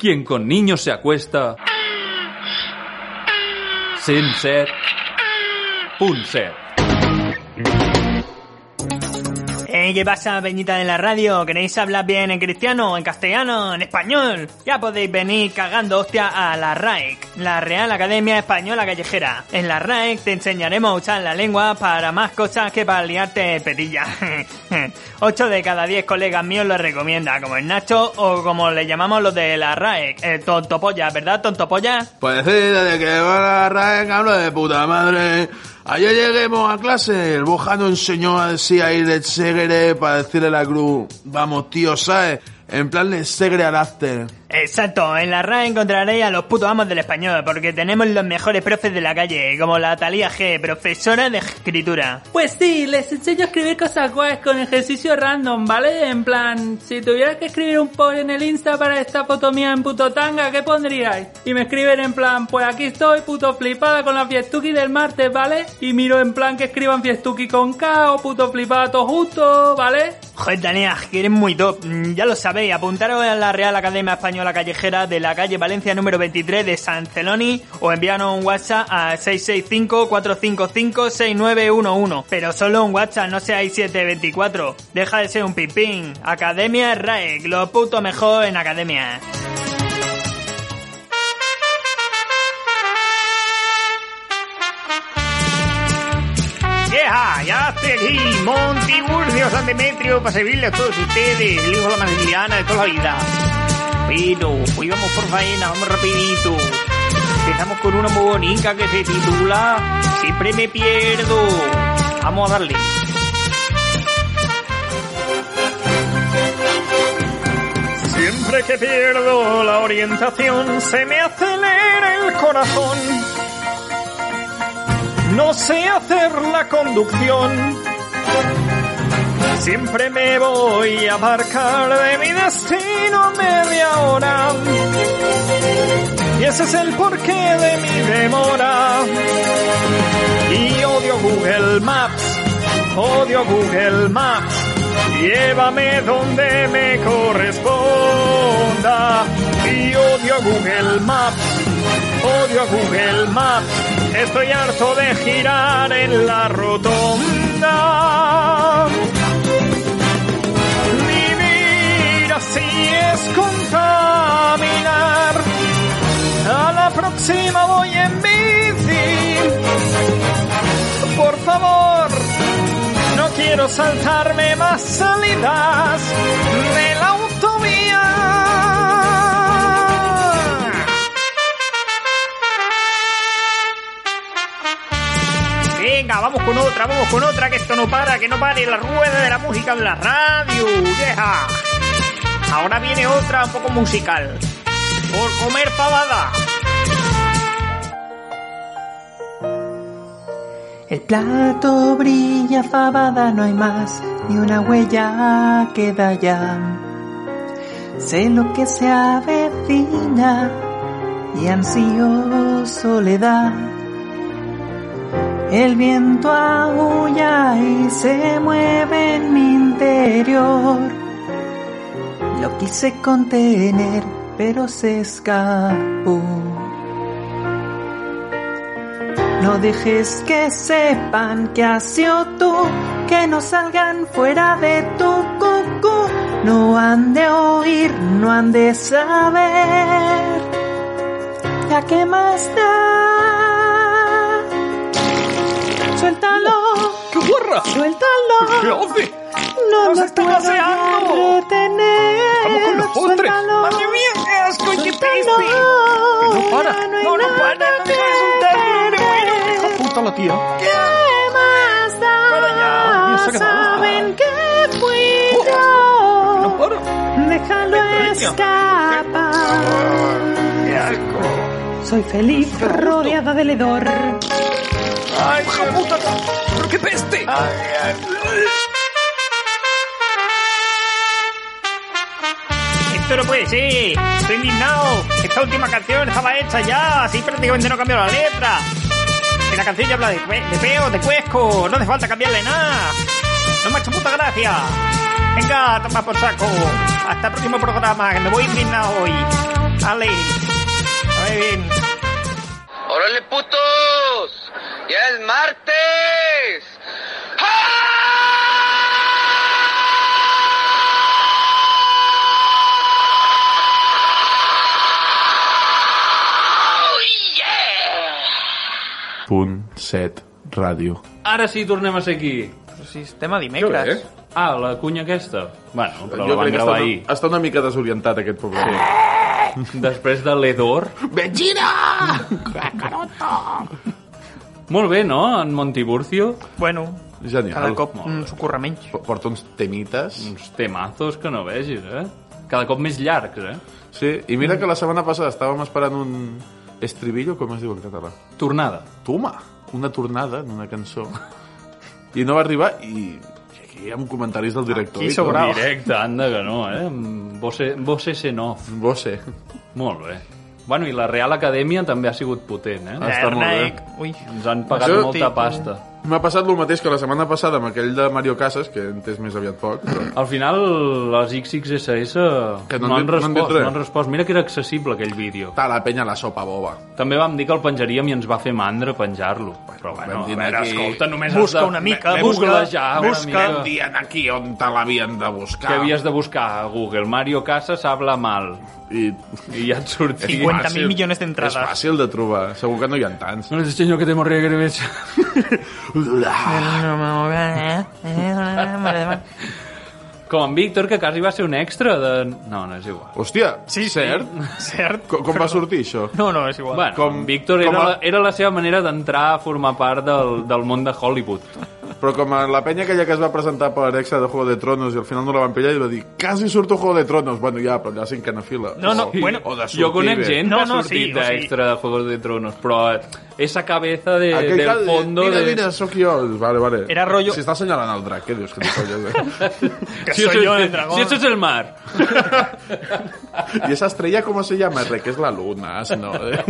C: Quien con niños se acuesta. 107.7
B: Eh, ¿Eh? ¿Qué pasa, peñita de la radio? ¿Queréis hablar bien en cristiano, en castellano, en español? Ya podéis venir cagando hostia a la RAEC, la Real Academia Española Callejera. En la RAEC te enseñaremos a usar la lengua para más cosas que para liarte petilla. [laughs] Ocho de cada diez colegas míos lo recomienda, como el Nacho o como le llamamos los de la RAEC, el tontopolla, ¿verdad, tontopolla?
D: Pues sí, desde que va la RAE, hablo de puta madre. Ayer lleguemos a clase, el bojano enseñó así a ir de segre para decirle a la cruz, vamos tío, ¿sabes? En plan de segre al after.
B: Exacto, en la RAE encontraréis a los putos amos del español, porque tenemos los mejores profes de la calle, como la Talía G, profesora de escritura.
G: Pues sí, les enseño a escribir cosas guays con ejercicio random, ¿vale? En plan, si tuviera que escribir un post en el Insta para esta foto mía en puto tanga, ¿qué pondríais? Y me escriben en plan, pues aquí estoy puto flipada con la fiestuki del martes, ¿vale? Y miro en plan que escriban fiestuki con K o puto flipada todo justo, ¿vale?
B: Joder, Talía, que eres muy top. Mm, Ya lo sabéis, apuntaros a la Real Academia Española Callejera de la calle Valencia número 23 de San Celoni o envianos un WhatsApp a 665-455-6911. Pero solo un WhatsApp, no seáis 724. Deja de ser un pipín. Academia RAEC, lo puto mejor en academia.
A: ¡Vieja! Ya estoy aquí, Montiburcio, San Demetrio, para servirle a todos ustedes, el hijo de la madriliana de toda la vida. Pero, hoy vamos por faena, vamos rapidito. Empezamos con una muy bonita que se titula Siempre me pierdo. Vamos a darle. Siempre que pierdo la orientación, se me acelera el corazón. No sé hacer la conducción. Siempre me voy a aparcar de mi destino media hora. Y ese es el porqué de mi demora. Y odio Google Maps, odio Google Maps. Llévame donde me corresponda. Y odio Google Maps, odio Google Maps. Estoy harto de girar en la rotonda. Vivir así es contaminar. A la próxima voy en bici. Por favor, no quiero saltarme más salidas de la autovía. Venga, vamos con otra, vamos con otra, que esto no para, que no pare la rueda de la música de la radio, vieja. Ahora viene otra un poco musical. Por comer pavada.
G: El plato brilla fabada, no hay más, ni una huella queda ya. Sé lo que se avecina y ansío soledad. El viento aúlla y se mueve en mi interior. Lo quise contener, pero se escapó. No dejes que sepan que has sido tú, que no salgan fuera de tu cucú. No han de oír, no han de saber. Ya que más da. Suéltalo,
D: ¡Qué guarra!
G: suéltalo.
D: hace?
G: No
A: ¡Nos
G: lo
A: está
G: puedo
A: paseando!
G: ya retener.
D: Estamos con los postres.
G: Suéltalo.
A: ¡Madre mía, qué asco y qué peste!
G: Suéltalo.
D: No para.
G: Ya
A: No, no
G: hay
A: para,
G: nada
A: no me asustes, pero bueno.
D: ¡Hija puta la tía!
G: ¿Qué más
A: Para
G: da?
D: allá. Mira, se ha quedado
G: Saben que fui
D: ¡No
G: yo.
D: para!
G: Déjalo escapar.
A: ¡Qué asco!
G: Soy feliz rodeada de hedor.
A: ¡Ay, hija puta!
C: ¡Pero qué peste!
A: Esto no puede ser. Estoy indignado. Esta última canción estaba hecha ya. Así prácticamente no cambió la letra. Que la canción ya habla de, cue- de peo, de cuesco. No hace falta cambiarle nada. No me ha hecho puta gracia. Venga, toma por saco. Hasta el próximo programa. Que me voy indignado hoy. Ale. A ver bien.
H: ¡Órale, putos! ¡Ya es martes! ¡Ah!
D: set radio.
C: Ara sí, tornem a ser aquí.
B: Sistema dimecres.
C: Ah, la cunya aquesta. Bueno, però la
D: crec
C: van
D: que
C: gravar
D: està,
C: ahir.
D: està una mica desorientat aquest poble. [laughs]
C: Després de l'Edor. [laughs]
D: Vegina!
C: Molt bé, no? En Montiburcio.
B: Bueno, cada
D: Genial.
B: cop
C: Molt
B: mm, s'ho curra menys.
D: P- Porta uns temites.
C: Uns temazos que no vegis, eh? Cada cop més llargs, eh?
D: Sí, i mira que la setmana passada estàvem esperant un estribillo, com es diu en català?
C: Tornada.
D: Toma! Una tornada en una cançó. I no va arribar i... i Aquí amb comentaris del director.
B: Aquí
D: i tot.
B: sobrava. Bravo.
C: Directe, anda que no, eh? Amb Voce, voce sen off.
D: Vos sé.
C: Molt bé. Bueno, i la Real Acadèmia també ha sigut potent, eh?
D: Ah, està molt bé.
B: Nike. Ui.
C: Ens han pagat
D: Això-
C: molta pasta.
D: M'ha passat el mateix que la setmana passada amb aquell de Mario Casas, que he entès més aviat poc. Però...
C: Al final, les XXSS
D: Que
C: no, no,
D: no han
C: han respost,
D: dit- no han dit
C: no,
D: res.
C: han respost. Mira que era accessible aquell vídeo.
D: Està la penya a la sopa boba.
C: També vam dir que el penjaríem i ens va fer mandra penjar-lo. Però bueno,
D: vam dir
C: a veure,
D: aquí-
C: escolta, només
B: Busca
C: has de...
B: una mica,
C: de
B: busca,
C: googlejar una
B: busca.
C: mica.
D: Dient aquí on te l'havien de
C: Què
D: buscar.
C: havies de buscar a Google? Mario Casas habla mal.
D: I...
C: I ja et sortia.
B: 50.000 milions
D: És
B: d'entrades.
D: fàcil de trobar. Segur que no hi ha
B: [laughs]
D: tants.
C: No les ensenyo que te morria que veig.
B: No me voy a- eh, eh, me la-
C: Com en Víctor, que quasi va ser un extra de... No, no és igual.
D: Hòstia,
B: Sí, sí.
A: [laughs]
D: cert?
B: Cert.
D: Com, com va sortir això?
B: No, no, és igual.
C: Bueno, com,
D: Com-
C: Víctor era,
D: com a-
C: la, era la seva manera d'entrar a formar part del, del món de Hollywood.
D: Però com a la penya aquella que es va presentar per Exa de Juego de Tronos i al final no la van pillar i va dir quasi surto Juego de Tronos. Bueno, ja, però allà cinquena fila.
B: No, no,
D: o,
B: bueno,
D: o de sortir
C: Jo conec
D: bé.
C: gent
B: No,
C: que ha
B: no,
C: sortit
B: sí, o sigui-
C: d'extra de Juegos de Tronos, però esa cabeza de,
D: Aquell que
C: del
D: de-
C: fondo...
D: Mira,
C: de...
D: mira, sóc jo. Vale, vale.
B: Era rotllo-
D: Si està assenyalant el drac, què dius que no colles?
C: [laughs]
D: Eh?
B: Que
C: Si
B: soy
C: eso-
B: yo el dragón.
C: Si eso es el mar.
D: I esa estrella com se llama? Re, que és la luna, no? Eh?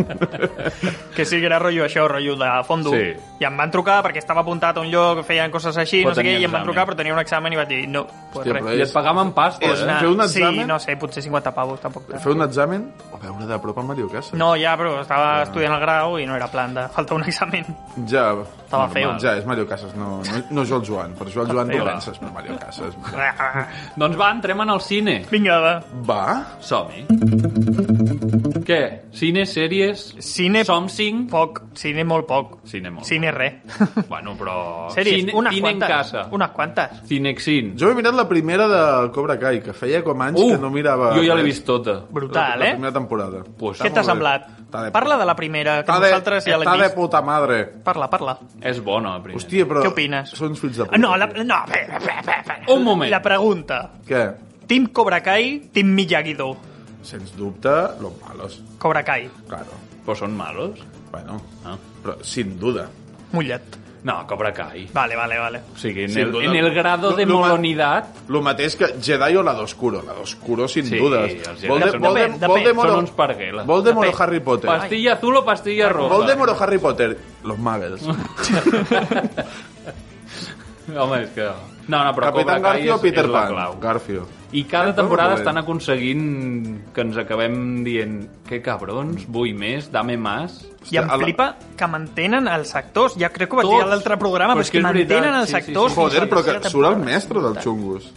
D: [laughs]
B: Que sí que era rotllo això, rotllo de fondo.
C: Sí.
B: I em van trucar perquè estava apuntat a un lloc, feien coses així,
C: Però
B: no sé què,
C: tenia
B: i em van
C: examen.
B: trucar però tenia un examen i vaig dir, no, pues
D: Hòstia,
B: res.
D: però
C: I et pagaven pasta,
D: és-
C: eh?
B: Nah,
D: fer un
B: Sí,
D: examen?
B: no sé, potser 50 pavos, tampoc. tant.
D: Fer un examen o veure de prop a Mario Casas.
B: No, ja, però estava estudiant el grau i no era plan de... Falta un examen. [laughs]
D: Ja,
B: Estava
D: normal,
B: feu.
D: Ja, és Mario Casas, no, no, no és el Joan. Per això el Joan
C: eh.
B: feu.
D: tu penses, però Mario Casas...
C: Doncs va, entrem en el cine.
B: Vinga, va.
D: Va?
C: Som-hi. Què? Cine, sèries...
B: Cine-
C: Som cinc?
B: Poc. Cine molt poc.
C: Cine molt.
B: Cine res.
C: Bueno, però...
B: Sèries,
C: cine,
B: unes
C: cine en
B: quantes.
C: casa.
B: Unes quantes.
C: Cinexin.
D: Jo he mirat la primera de Cobra Kai, que feia com anys que no mirava...
C: Uh! jo ja l'he
D: res.
C: vist tota.
B: Brutal,
D: la, la
B: eh?
D: primera temporada.
C: Pues,
B: Què
D: Està
B: t'ha
D: molt bé.
B: semblat?
D: Està de-
B: Parla de la primera, que
D: Està de,
B: nosaltres ja l'hem
D: està de
B: vist.
D: puta madre.
B: Parla, parla.
C: és bona, la primera.
D: Hòstia, però...
B: Què opines?
D: Són fills de
B: Ah,
D: puta.
B: No, la, no, bé, bé, bé, bé.
C: Un moment.
B: La pregunta.
D: Què?
B: Team Cobra Kai, Team Miyagi-Do.
D: Sens dubte, los malos.
B: Cobra Kai.
D: Claro.
C: Però són malos?
D: Bueno,
C: Ah.
D: però sin duda.
B: Mullet.
C: No, Cobra Kai.
B: Vale, vale, vale.
C: O sigui, en
D: Sin
C: el,
D: duda.
C: en el grado de
D: Lo- lo ma-
C: molonidad
D: Lo mateix que Jedi o la d'Oscuro. La d'Oscuro, sin
C: Sí,
D: dudes.
C: els Jedi
D: Voldem-
C: són-
D: Voldem-
B: Depèn, depèn.
D: Voldemort
C: Són
D: o-
C: uns pargueles.
D: Voldemort o
B: Depèn.
D: Harry Potter.
C: Pastilla azul o pastilla roja?
D: Voldemort o Harry Potter. Los Muggles.
C: Home, és que... No, no, però Cobra
D: Capitán
C: Kai
D: Garfio
C: és,
D: o Peter
C: és la
D: Pan.
C: clau.
D: Garfio.
C: I cada
D: Eh,
C: temporada
D: molt bé.
C: estan aconseguint que ens acabem dient que cabrons, vull més, dame más.
B: I em
D: a la-
B: flipa que mantenen els actors. Ja crec que ho vaig dir
C: Tots.
B: a l'altre programa,
C: Però
B: però,
C: és
B: és que,
C: que és
B: mantenen
C: veritat,
B: els
C: sí, sí, sí.
B: actors. fins a la
D: Joder, però que
B: tercera
D: surt el
B: temporada.
D: mestre dels xungus.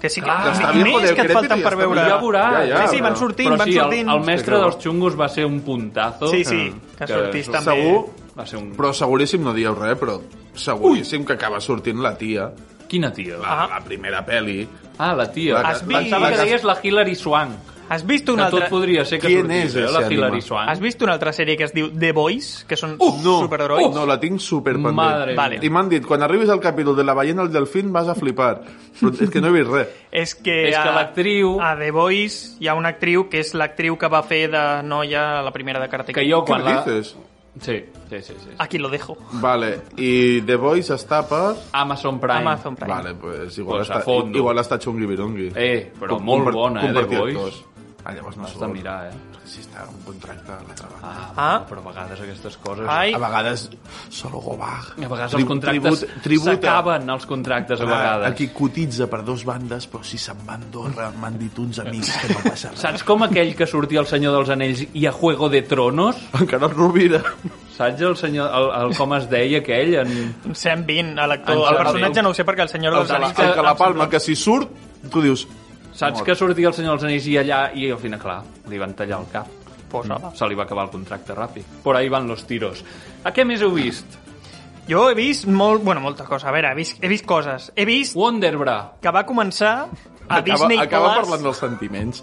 B: Que sí, que,
C: Que està
B: i
D: bien
B: més que
D: jodecrèpid
B: et falten
D: i
B: per
D: està
B: veure.
C: Ja veuràs. Ja, ja,
B: sí, sí,
D: però-
B: van sortint,
C: Però
B: van
C: sí, el,
B: sortint.
C: el mestre
D: Sí,
C: dels xungos va ser un puntazo.
B: Sí, sí, que
C: Que
B: sortís
C: surt-
B: també.
D: Segur,
C: Va ser un...
D: però seguríssim no dieu res, però seguríssim que acaba sortint la tia,
C: Quina tia?
D: la, la primera peli.
C: Ah, la Ah. tia.
D: La-
B: Has
C: Pensava
B: vist-
C: que deies la Hillary Swank.
B: Has vist
C: Que
B: una
C: tot
B: altra...
C: podria ser que
D: Qui
C: sortís,
D: és
C: eh,
D: ese
C: la
D: animal?
C: Hillary Swank.
B: Has vist una altra sèrie que es diu The Boys, que són
D: no,
B: superherois?
D: no, la tinc super pendent.
C: Madre
B: Vale.
D: I m'han dit, quan arribis al capítol de la ballena al delfín vas a flipar. Però és que no he vist res.
B: És que,
C: És que
B: a-
C: l'actriu-
B: A The Boys hi ha una actriu que és l'actriu que va fer de noia a la primera de Karate
C: Que
B: Kid.
C: jo [laughs]
D: Què
C: quan
D: me
C: la...
D: dices?
C: Sí, sí, sí. sí.
B: Aquí lo dejo.
D: Vale, i The Voice està per...
C: Amazon Prime.
B: Ah. Amazon Prime.
D: Vale, pues igual,
C: Pues a
D: està,
C: fondo.
D: igual està xungui virungui.
C: Eh, però
D: Com-
C: molt
D: compar-
C: bona, eh, The
D: compartir
C: Voice.
D: actors. Ah, llavors no
C: Has de
D: surt.
C: mirar, eh?
D: Perquè Si està un contracte a l'altra banda.
C: Ah,
B: Ah.
C: però a vegades aquestes coses...
B: Ai,
D: A vegades, solo Gobag.
C: A vegades els contractes s'acaben, els contractes, a vegades.
D: Ah, Aquí cotitza per dos bandes, però si se'n va a Andorra m'han dit uns amics que no passa res.
C: Saps com aquell que sortia al Senyor dels Anells i a Juego de Tronos?
D: [laughs] Encara el Rovira.
C: Saps el senyor, el, el com es deia aquell? En...
B: Sam Bean, a l'actor.
C: En
B: El
C: Sam Bean.
B: personatge no ho sé perquè el senyor
C: El
B: dels
C: de la-
B: Anells...
D: El que la palma, que si surt, tu dius...
C: Saps que sortia el Senyor dels Anells i allà, i al final, clar, li van tallar el cap. Mm,
B: Pues nada.
C: Se li va acabar el contracte ràpid. Por ahí van los tiros. A què més heu vist?
B: Jo he vist molt... Bueno, moltes coses. A veure, he vist, he vist coses. He vist
C: Wonderbra.
B: que va començar a
D: acaba,
B: Disney
D: acaba
B: Plus.
D: parlant dels sentiments.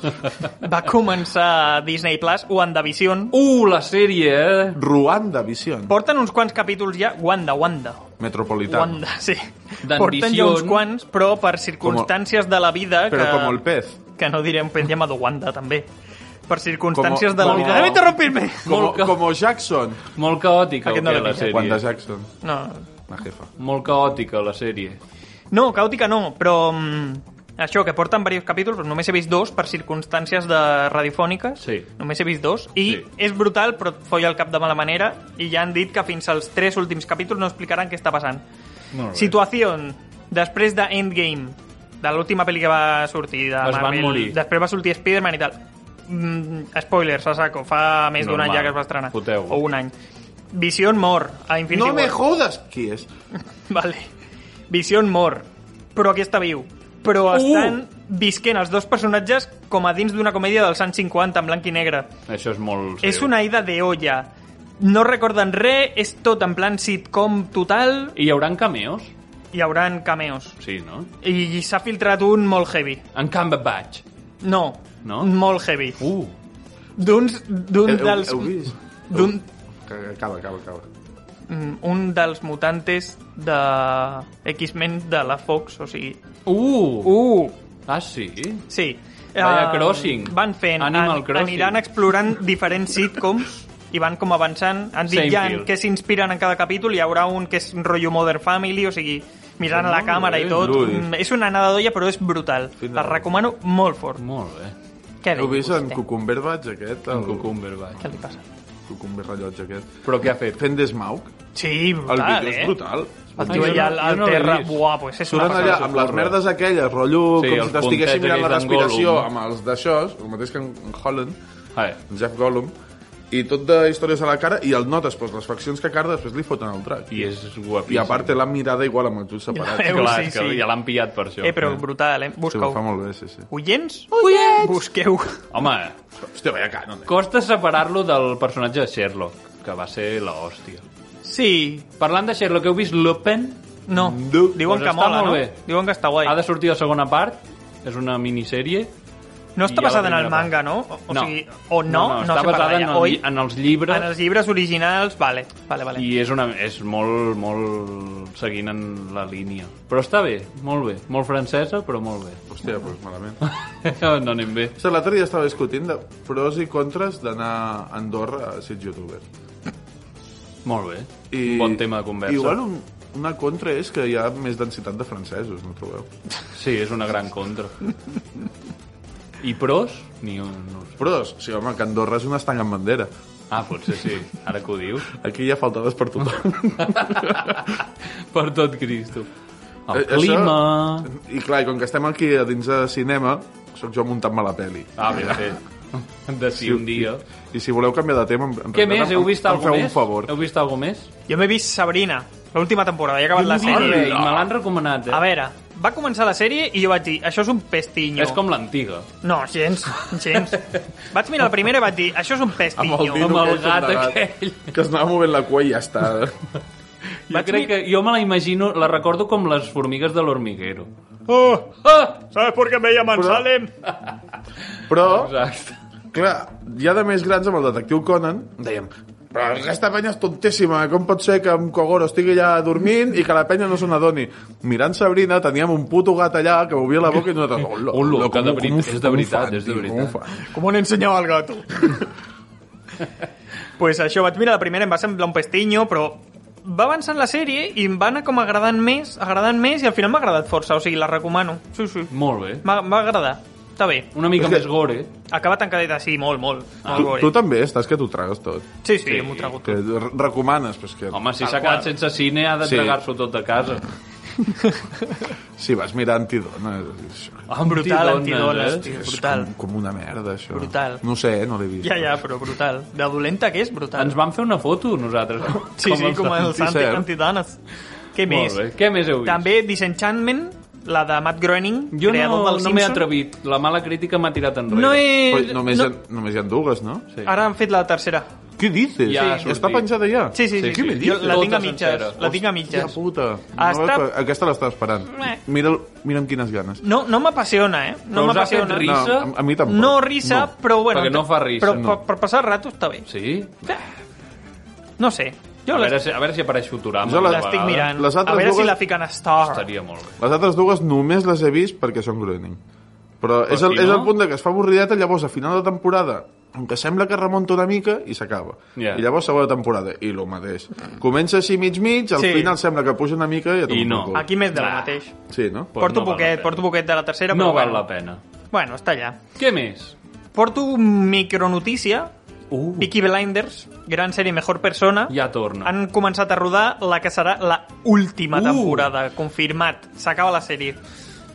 B: Va començar a Disney Plus WandaVision.
C: Uh, la sèrie, eh?
D: Ruanda Vision.
B: Porten uns quants capítols ja. Wanda, Wanda.
D: Metropolitano.
B: Wanda, sí.
C: Dandición.
B: Porten ja uns quants, però per circumstàncies de la vida...
D: Pero
B: que...
D: como el pez.
B: Que no diré un pez llamado Wanda, també. Per circumstàncies
D: Como-
B: de la
D: como-
B: vida... Debe interrumpir-me!
D: Como,
C: Molt ca-
D: como Jackson.
C: Molt caòtica,
B: Aquest
C: o
B: no
C: què,
B: l'he
C: la
B: vist.
C: sèrie?
D: Wanda Jackson,
B: No,
D: la jefa.
C: Molt caòtica, la sèrie.
B: no caòtica no, però... mm, això, que porten diversos capítols, però només he vist dos per circumstàncies de radiofòniques.
C: Sí.
B: Només he vist dos. I
C: Sí.
B: és brutal, però et folla el cap de mala manera. I ja han dit que fins als tres últims capítols no explicaran què està passant.
C: Molt bé.
B: Situació. Després de Endgame, de l'última pel·li que va sortir de
C: Es van
B: Marvel,
C: morir.
B: després va sortir Spider-Man i tal. Mm, spoilers, a saco. Fa més d'un
C: Normal.
B: any ja que es va estrenar.
C: Foteu.
B: O un any. Vision mor a Infinity
D: No
B: War.
D: me jodas. ¿Qui és?
B: [laughs] Vale. Vision mor, però aquí està viu.
D: Uh!
B: Però estan visquent els dos personatges com a dins d'una comèdia dels anys 50 en blanc i negre.
C: Això és molt...
B: És
C: seriós.
B: una ida de olla. No recorden res, és tot en plan sitcom total,
C: I hi haurà cameos?
B: hi hauran cameos.
C: Sí, no?
B: I s'ha filtrat un molt heavy.
C: En Cumberbatch.
B: No,
C: No?
B: molt heavy.
C: Uh,
B: D'uns d'un
D: Heu- heu-
B: dels...
D: heu vist?
B: D'un
D: Acaba, acaba, acaba.
B: mm, un dels mutantes de X-Men de la Fox, o sigui...
C: uh,
B: Uh!
C: Ah, sí?
B: Sí.
C: Vaya
B: Eh,
C: crossing.
B: Van fent,
C: Animal Crossing.
B: aniran explorant diferents sitcoms i van com avançant. Han dit ja en
C: Seinfeld.
B: què s'inspiren en cada capítol, hi haurà un que és un rotllo Mother Family, o sigui, mirant a la
C: Molt
B: càmera i
C: bé,
B: tot.
D: Luis.
B: Mm, És una anada d'olla, però és brutal.
D: Fins
B: La
D: ara.
B: recomano molt fort.
C: molt bé.
B: Què
D: Heu
B: diu
D: vist en
B: vostè?
D: Cucumber Batch aquest?
C: En
D: El
B: Què
C: Cumberbatch.
B: li passa?
D: Cucumber Rellotge aquest.
C: Però què ha fet?
D: Fent d'esmaug.
B: Sí,
D: El
B: brutal,
D: vídeo
B: eh?
D: és brutal.
B: El
C: Ah,
B: tio
C: jo
B: allà
C: no-
B: al
C: jo no l'he
B: terra,
C: vist.
B: buah, pues és una
D: Surten allà
B: passada.
D: amb les merdes aquelles, rotllo,
C: Sí,
D: com
C: els
D: si t'estiguessin
C: puntets
D: mirant la
C: aquells d'en
D: respiració
C: Gollum.
D: amb els d'això, el mateix que en en Holland,
C: A veure,
D: en Jeff Gollum, i tot de històries a la cara, i el notes, pues, les faccions que carda, després li foten el trac.
C: I és guapíssim.
D: I a part té la mirada igual amb els ulls separats.
B: Eh,
C: Clar,
B: sí,
C: és que
B: sí.
C: ja l'han pillat per això.
B: Eh, però brutal, eh?
D: Sí, ho
B: Busca-ho.
D: fa molt bé, sí, sí.
B: Oients? Oients! Busqueu. [laughs]
C: Home,
D: Hòstia, veia canon, eh?
C: costa separar-lo del personatge de Sherlock, que va ser la hòstia.
B: Sí.
C: Parlant de Sherlock, heu vist Lupin?
B: No.
D: No.
B: Diuen
C: Doncs
B: que
C: està
B: mola,
C: molt
B: no?
C: bé.
B: Diuen que està guai.
C: Ha de sortir la segona part, és una minissèrie.
B: No està
C: I ja la
B: basada en el
C: primera
B: manga, no? O, o
C: No.
B: sigui, o no,
C: No, no,
B: no,
C: està
B: se parla
C: basada
B: ja.
C: en el
B: Oi?
C: lli- en els llibres.
B: En els llibres originals, vale, vale, vale.
C: I és, una, és molt, molt seguint en la línia. Però està bé, molt bé. Molt francesa, però molt bé. [laughs]
D: Hòstia, doncs malament.
C: no anem bé.
D: O sigui, l'altre dia estava discutint de pros i contres d'anar a Andorra a ser youtuber.
C: Molt bé. I... Bon tema de conversa.
D: Igual un, una contra és que hi ha més densitat de francesos, no trobeu?
C: Sí, és una gran [laughs] contra. I pros? Ni un... No ho sé.
D: Pros, sí, home, que Andorra és un estanc amb bandera.
C: Ah, potser sí, ara que ho dius.
D: Aquí hi ha faltades per tothom.
C: per tot Cristo. El
D: Eh,
C: eh, clima... Això...
D: I clar, i com que estem aquí a dins de cinema, sóc jo muntant-me la peli.
C: Ah, ben fet. De si un dia...
D: I si voleu canviar de tema... En en
C: Què
D: realitat,
C: més?
D: em-
C: Heu vist
D: em
C: alguna
D: feu
C: més?
D: un favor.
C: Heu vist alguna més?
B: Jo m'he vist Sabrina, l'última temporada, ja he acabat la sèrie.
C: I me l'han recomanat, eh?
B: A veure, va començar la sèrie i jo vaig dir, això és un pestinyo.
C: És com l'antiga.
B: No, gens, gens. vaig mirar la primera i vaig dir, això és un
D: Amb el,
B: pestinyo.
C: [laughs]
D: dino
C: Amb el
D: aquell
C: gat
D: endegat,
C: aquell.
D: Que es anava movent la cua i ja està.
C: Jo
B: Vaig
C: crec
B: mi-
C: que... Jo me la imagino... La recordo com les formigues de l'hormiguero.
B: Oh, ah, ¿Sabes por qué me llaman
D: Però-
B: Salem?
D: Però,
C: Exacte.
D: clar, ja de més grans amb el detectiu Conan, dèiem... Però aquesta penya és tontíssima, com pot ser que en Kogoro estigui allà dormint i que la penya no se n'adoni? Mirant Sabrina teníem un puto gat allà que movia la boca i nosaltres... Oh, lo,
C: Un loco,
D: com
C: de
D: ho- com ho
C: veritat, és
D: fa-
C: de
D: com ho
C: veritat,
D: fan,
C: és de
D: tio, com ho
C: veritat.
D: fan?
B: ¿Cómo le enseñaba al gato? pues això, vaig mirar la primera, em va semblar un pestinyo, però va avançant la sèrie i em va anar com agradant més, agradant més, i al final m'ha agradat força, o sigui, la recomano. Sí, sí.
C: Molt bé.
B: M'ha m'ha agradat. Està bé.
C: Una mica
D: És que-
C: més gore.
B: Acaba tancadeta, sí, molt, molt.
C: Ah,
B: molt
D: Tu,
B: gore.
D: tu també estàs que t'ho tragues tot.
B: Sí, sí,
C: Sí.
B: m'ho trago
D: Que
B: tot.
D: re- recomanes, però és que...
C: Home, si s'ha quedat sense cine ha de
D: Sí.
C: tragar-s'ho tot a casa.
D: Si vas mirar antidones... és-
C: Ah,
B: Brutal,
C: antidones,
B: antidones, tio, brutal.
D: Com, com una merda, això.
B: Brutal.
D: No ho sé, eh, no l'he vist.
B: Ja, ja, però brutal. De dolenta que és, brutal.
C: Ens vam fer una foto, nosaltres.
B: Sí, sí, com els
D: sí,
B: anti
D: cert.
B: antidanes. Què
C: Molt
B: més?
C: bé. Què més heu vist?
B: També Disenchantment, la de Matt Groening,
C: Jo
B: creador
C: no,
B: del
C: no m'he
B: Simpson.
C: atrevit. La mala crítica m'ha tirat enrere.
B: No he...
D: Oi, només,
B: Eh, no-
D: hi ha, només hi ha dues, no?
C: Sí.
B: Ara han fet la tercera.
D: Què dices?
C: Ja ha
D: Ja Està
C: sortit.
D: penjada ja?
B: Sí, sí, sí.
D: Què me
B: sí. Jo
D: dices?
B: la tinc a
C: Totes
B: mitges.
C: senceres.
B: La tinc a
D: Hòstia
B: mitges. Ah,
D: puta. No,
B: Està-
D: eh, Aquesta l'estava esperant.
B: Eh.
D: Mira'l, mira amb quines ganes.
B: No, no m'apassiona, eh? No,
C: Però us ha fet
B: m'apassiona.
C: risa?
D: No, a, a mi tampoc.
B: No risa,
D: No.
B: però bueno...
C: Perquè no fa risa,
B: Però
D: no.
B: per, per passar el rato està bé.
C: Sí?
B: No sé. Jo
C: A
B: les-
C: veure, si, a veure si apareix Futurama.
D: Jo la-
C: una
B: l'estic
C: vegada.
B: mirant.
D: Les altres
B: a veure si
D: dues-
B: la fiquen a Star.
C: Estaria molt bé.
D: Les altres dues només les he vist perquè són Groening. Però, és, el,
C: si
D: és
C: no?
D: el punt de que es fa avorrideta, llavors a final de temporada aunque sembla que remunta una mica i s'acaba.
C: Ja.
D: I llavors segona temporada, i lo mateix. Comença així mig-mig, al
B: Sí.
D: final sembla que puja una mica i ja
C: I
D: tomo
C: no.
D: pel cul.
B: Aquí més de
C: Nah.
B: la mateix.
D: Sí, no?
C: Pues
B: porto
C: no val la
B: poquet,
C: pena.
B: porto poquet de la tercera,
C: No
B: però
C: val
B: bueno.
C: la pena.
B: Bueno, està allà.
C: Què més?
B: Porto un micronotícia.
C: Uh.
B: Peaky Blinders, gran sèrie Mejor Persona.
C: Ja torna.
B: Han començat a rodar la que serà la última
C: Uh.
B: temporada, confirmat. S'acaba la sèrie.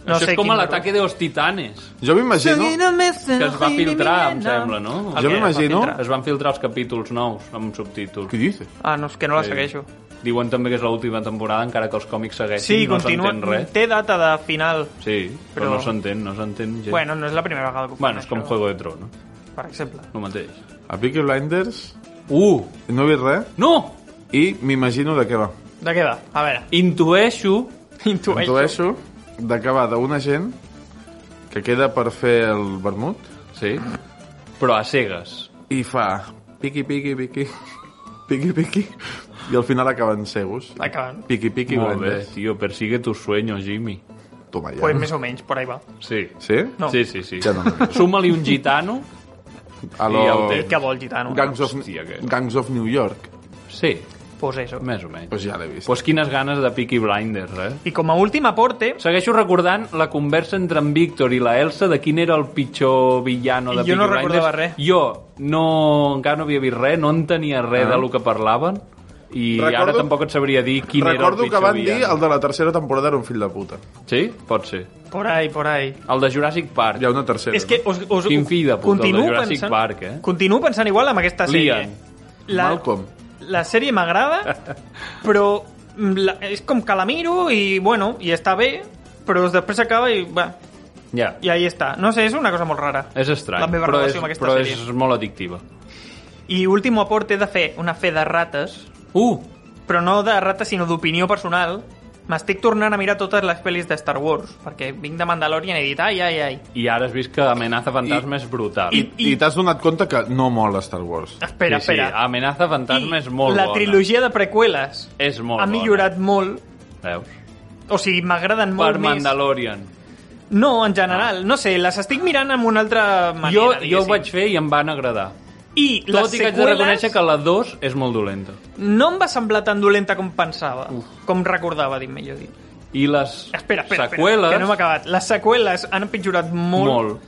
B: No
C: Això
B: sé
C: és com
B: quin
C: a l'ataque de los titanes,
D: Jo m'imagino...
C: que es va filtrar, em sembla, no?
D: Jo
B: què,
D: m'imagino...
B: va filtrar?
C: Es van filtrar els capítols nous, amb subtítols.
D: Què dices?
B: Ah, no, és que no la
C: Sí.
B: segueixo.
C: Diuen també que és l'última temporada, encara que els còmics segueixin,
B: Sí,
C: no
B: continua.
C: s'entén res.
B: Té data de final.
C: Sí, però,
B: Però-
C: no s'entén, no s'entén gens.
B: Bueno, no és la primera vegada que ho fan,
C: bueno és com
B: això,
C: Juego de Tronos,
B: Per exemple.
C: el mateix.
D: A Peaky Blinders
C: Uh!
D: no he vist res
C: No!
D: i m'imagino de què va.
B: De què va? A veure.
C: Intueixo...
B: Intueixo.
D: Intueixo de què va d'una gent que queda per fer el vermut
C: Sí. Però a cegues.
D: i fa piqui, piqui, piqui, piqui, piqui i al final acaben cegos.
B: Acaben.
D: Piqui, piqui,
C: Molt bé,
D: Blinders.
C: tio, persigue tus sueños, Jimmy.
D: Toma ja.
B: Pues més o menys, por ahí va.
C: Sí.
D: Sí?
B: No.
C: Sí, sí, sí.
D: Ja no.
C: Suma-li un gitano.
D: A
C: I
D: lo...
C: el té.
B: Què vol, gitano?
D: Gangs of,
C: Hòstia, que-
D: Gangs of New York.
C: [laughs] Sí,
B: Pues eso.
C: més o menys.
D: Pues ja l'he vist.
C: pues quines ganes de Peaky Blinders, eh?
B: I com a últim aporte,
C: Segueixo recordant la conversa entre en Víctor i la Elsa de quin era el pitjor villano de
B: Jo
C: Peaky
B: no recordava
C: Blinders.
B: res.
C: Jo no, encara no havia vist res, no entenia res
D: Ah.
C: de lo que parlaven i
D: Recordo-
C: ara tampoc et sabria dir quin
D: Recordo
C: era
D: que
C: el pitjor
D: van dir
C: villano.
D: el de la tercera temporada era un fill de puta.
C: Sí? Pot ser.
B: por ahí, por ahí.
C: El de Jurassic Park.
D: Hi ha una tercera.
B: És que us, us,
C: Quin fill de puta,
B: continuo
C: el de Jurassic
B: pensant,
C: Park, eh?
B: Continuo pensant igual amb aquesta sèrie.
C: Liam.
D: no? Malcolm.
B: La sèrie
C: [laughs]
B: m'agrada, però mm, la, és com que la miro i, bueno, i està bé, però després acaba i, va,
C: Ja.
B: i ahí està. No sé, és una cosa molt rara.
C: És estrany,
B: La meva
C: però, és,
B: relació amb aquesta
C: però
B: sèrie.
C: és molt addictiva.
B: I últim aporte he de fer una fe de rates,
C: Uh!
B: però no de rates, sinó d'opinió personal. M'estic tornant a mirar totes les pel·lis de Star Wars, perquè vinc de Mandalorian i he dit, ai, ai, ai.
C: I ara has vist que Amenaza Fantasma és brutal.
D: I,
B: I-
D: i t'has donat compte que no mola Star Wars.
B: Espera,
C: sí, sí,
B: espera.
C: Amenaza Fantasma és molt
B: la
C: bona.
B: trilogia de preqüeles
C: És molt
B: ha
C: bona.
B: millorat molt
C: Veus?
B: o sigui, m'agraden
C: Per
B: molt més
C: Mandalorian.
B: no, en general, no sé, les estic mirant amb una altra manera
C: jo, jo ho
B: diguéssim.
C: vaig fer i em van agradar.
B: i
C: Tot
B: les
C: i que haig de
B: seqüeles
C: reconèixer que la 2 és molt dolenta.
B: no em va semblar tan dolenta com pensava com recordava, dit millor dit
C: I les
B: espera, espera, espera
C: seqüeles...
B: que no m'ha acabat les seqüeles han empitjorat molt,
C: molt.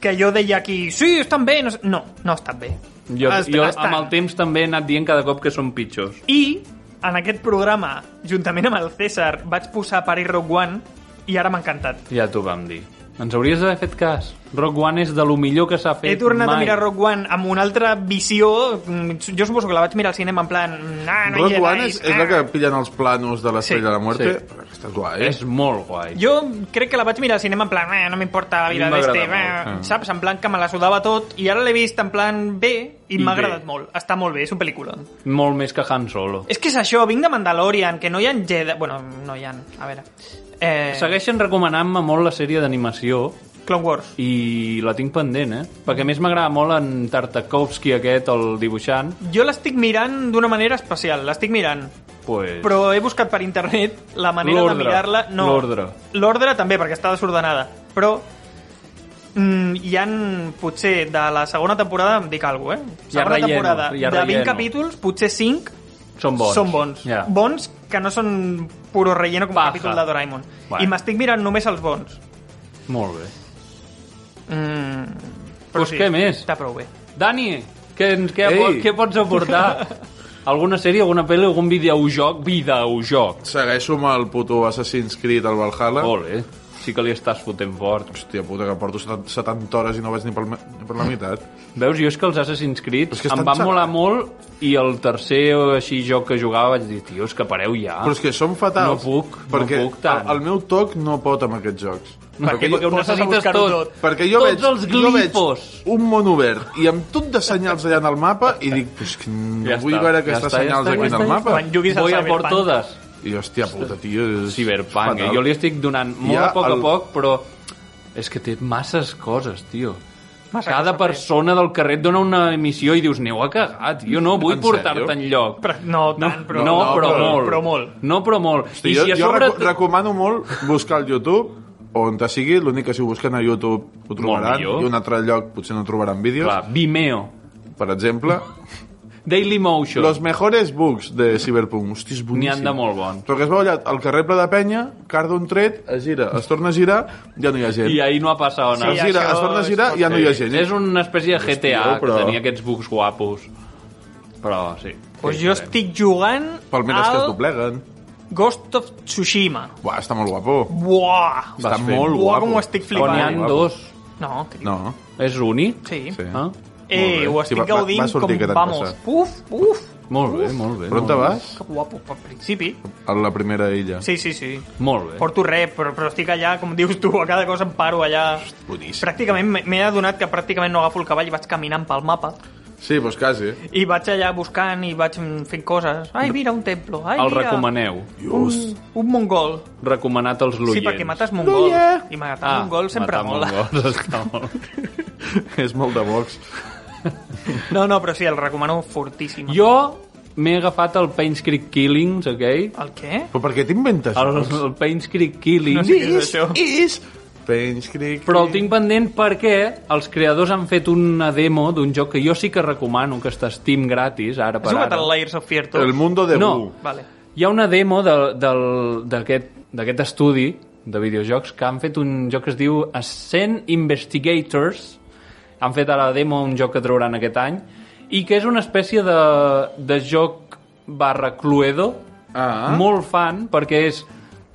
B: que jo deia aquí, sí, estan bé no, sé- no, no estan bé
C: Jo,
B: Est-
C: jo
B: estan.
C: amb el temps també he anat dient cada cop que són pitjors.
B: I en aquest programa, juntament amb el César, vaig posar Paris Rogue One i ara m'ha encantat.
C: Ja t'ho vam dir. Ens hauries d'haver fet cas. Rock One és de lo millor que s'ha fet
B: He tornat
C: mai.
B: a mirar Rogue One amb una altra visió. Mm, Jo suposo que la vaig mirar al cinema en plan... Ah, no hi
D: Rogue
B: Jedis,
D: One és, és la que pillen els planos de l'Estrella
B: Sí,
D: de la Muerte.
C: sí.
D: Però Aquesta és guai.
C: És molt guai.
B: Jo crec que la vaig mirar al cinema en plan, eh, no m'importa la vida
C: A mi m'agrada
B: d'este,
C: molt,
B: eh, saps? En plan que me la sudava tot i ara l'he vist en plan bé i,
C: I
B: m'ha
C: bé.
B: agradat molt. Està molt bé, és una pel·lícula.
C: Molt més que Han Solo.
B: És que és això, vinc de Mandalorian, que no hi ha Jedi... Bueno, no hi ha, a veure... Eh,
C: Segueixen recomanant-me molt la sèrie d'animació
B: Clone Wars.
C: i la tinc pendent, eh? Perquè a més m'agrada molt en Tartakovsky aquest, el dibuixant,
B: Jo l'estic mirant d'una manera especial, l'estic mirant.
C: pues...
B: Però he buscat per internet la manera de
C: L'ordre,
B: mirar-la... No,
C: l'ordre.
B: L'ordre també, perquè està desordenada. Però mm, hi han potser, de la segona temporada, em dic alguna cosa, eh?
C: Hi ha
B: Segona
C: relleno,
B: temporada,
C: hi ha
B: de 20
C: relleno.
B: capítols, potser 5
C: Són bons.
B: són bons.
C: Ja.
B: Bons que no són puro relleno com
C: Paja.
B: el capítol de Doraemon.
C: Bueno.
B: I m'estic mirant només els bons.
C: Molt bé.
B: Mm,
C: Pues què més?
B: Està prou bé.
C: Dani, què, ens- què,
D: Ei.
C: apo- què pots
D: [laughs]
C: aportar? alguna sèrie, alguna pel·li, algun videojoc? Videojoc.
D: Segueixo amb el puto Assassin's Creed al Valhalla.
C: Molt bé. sí que li estàs fotent fort.
D: Hòstia puta, que porto 70, 70 hores i no vaig ni per, la- ni
C: [laughs]
D: per la meitat.
C: Veus, jo és que els Assassin's Creed
D: És que
C: em
D: estan
C: van
D: xerrant.
C: molar molt i el tercer o així joc que jugava vaig dir, tio, és que pareu ja.
D: Però és que són fatals.
C: Ah. No puc, no
D: perquè
C: puc tant.
D: El, el meu toc no pot amb aquests jocs.
C: Per què? Perquè ho
B: poses a
C: necessites
B: buscar-ho
C: tot.
B: tot.
D: Perquè jo
C: Tots
D: veig,
C: els
D: jo veig
C: glifos.
D: un món obert i amb tot de senyals allà en el mapa i dic, pues que no
C: Ja
D: ja vull
C: està, ja
D: veure aquestes
C: està, ja
D: senyals
C: està, ja
D: aquí en el mapa.
B: Quan juguis al
C: Voy a por
B: Cyberpunk.
C: todas.
D: I hòstia puta, tio,
C: [laughs]
D: és
C: Cyberpunk, eh?
D: fatal.
C: Jo li estic donant molt
D: Ja
C: a poc
D: el-
C: a poc, però és que té masses coses, tio.
B: Massa
C: Cada
B: coses per fer.
C: persona del carrer et dona una missió i dius, aneu a cagar, tio, no vull
D: En
C: portar-te
D: sèrio?
C: enlloc.
B: Però no tant, però-
C: no,
D: no,
C: però,
D: però-
C: molt.
B: però molt.
C: No, però molt.
D: Hosti, jo,
C: I si a
D: jo
C: sobre...
D: recu recomano molt buscar al YouTube on te sigui, l'únic que si ho busquen a YouTube ho trobaran
C: millor.
D: i un altre lloc potser no trobaran vídeos,
C: Clar, Vimeo,
D: per exemple
C: Daily Motion.
D: los mejores bugs de Cyberpunk hosti, és boníssim
C: N'hi han de molt bons.
D: però que es veu allà al carrer ple de penya carda un tret, es gira, es torna a girar ja no hi ha gent
C: I ahí no ha passat
D: es
C: res.
B: Sí,
D: gira,
B: això
D: es torna a
B: és
D: girar
B: molt
D: ja no hi ha gent eh?
C: És una espècie de GTA
D: Hòstia, però-
C: que tenia aquests bugs guapos. Però sí.
B: Pues
C: sí,
B: jo
C: sí.
B: estic jugant
D: palmeres que es
B: al
D: dobleguen
B: Ghost of Tsushima.
D: Buah, està molt guapo
B: Buah.
D: està
C: Vas fent.
D: molt
B: Buah,
D: guapo
B: com ho estic
D: Està
C: On
B: flipant.
C: hi ha
D: molt guapo.
C: dos.
B: No, que dic.
D: no,
C: És únic?
B: Sí.
D: sí.
C: Ah,
D: Molt
B: Eh,
D: bé.
B: ho
D: Sí,
B: estic
D: va- va- va
B: gaudint
D: sortir
B: com
D: aquest any
B: vamos.
D: passat.
B: Uf, uf.
C: molt bé, molt bé.
D: però
C: molt
D: on te
C: bé.
D: vas?
B: Que guapo, per principi.
D: a la primera illa
B: Sí, sí, sí.
C: Molt bé.
B: Porto res, però, però estic allà, com dius tu, a cada cosa em paro allà.
D: boníssim
B: Pràcticament m'he- m'he adonat que pràcticament no agafo el cavall i vaig caminant pel mapa.
D: sí, doncs quasi
B: I vaig allà buscant i vaig mm, fent coses. Ai, mira, un templo. Ai,
C: El
B: mira,
C: recomaneu.
D: Dios.
B: un mongol.
C: Recomanat als
B: Sí,
C: loients.
B: perquè mates mongols. I matar ah, mongols sempre
C: matar
B: mola.
C: Mongols, està molt... Mm.
D: és molt de box
B: No, no, però sí, el recomano fortíssim.
C: [laughs] jo m'he agafat el Pain's Creek Killings, ok?
B: El què?
D: però per què t'inventes
C: El, el Pain's Creek Killings.
B: No sé què és això.
D: is Pains Creek
C: Però el tinc pendent perquè els creadors han fet una demo d'un joc que jo sí que recomano, que està a Steam gratis, ara
B: Has
C: per
B: jugat
C: ara.
B: al Layers of Fear 2?
D: el mundo de
C: No.
D: Wu
B: Vale.
C: Hi ha una demo de- del- d'aquest d'aquest estudi de videojocs que han fet un joc que es diu Ascent Investigators. Han fet a la demo un joc que trauran aquest any i que és una espècie de, de joc barra cluedo
D: Ah.
C: molt fan perquè és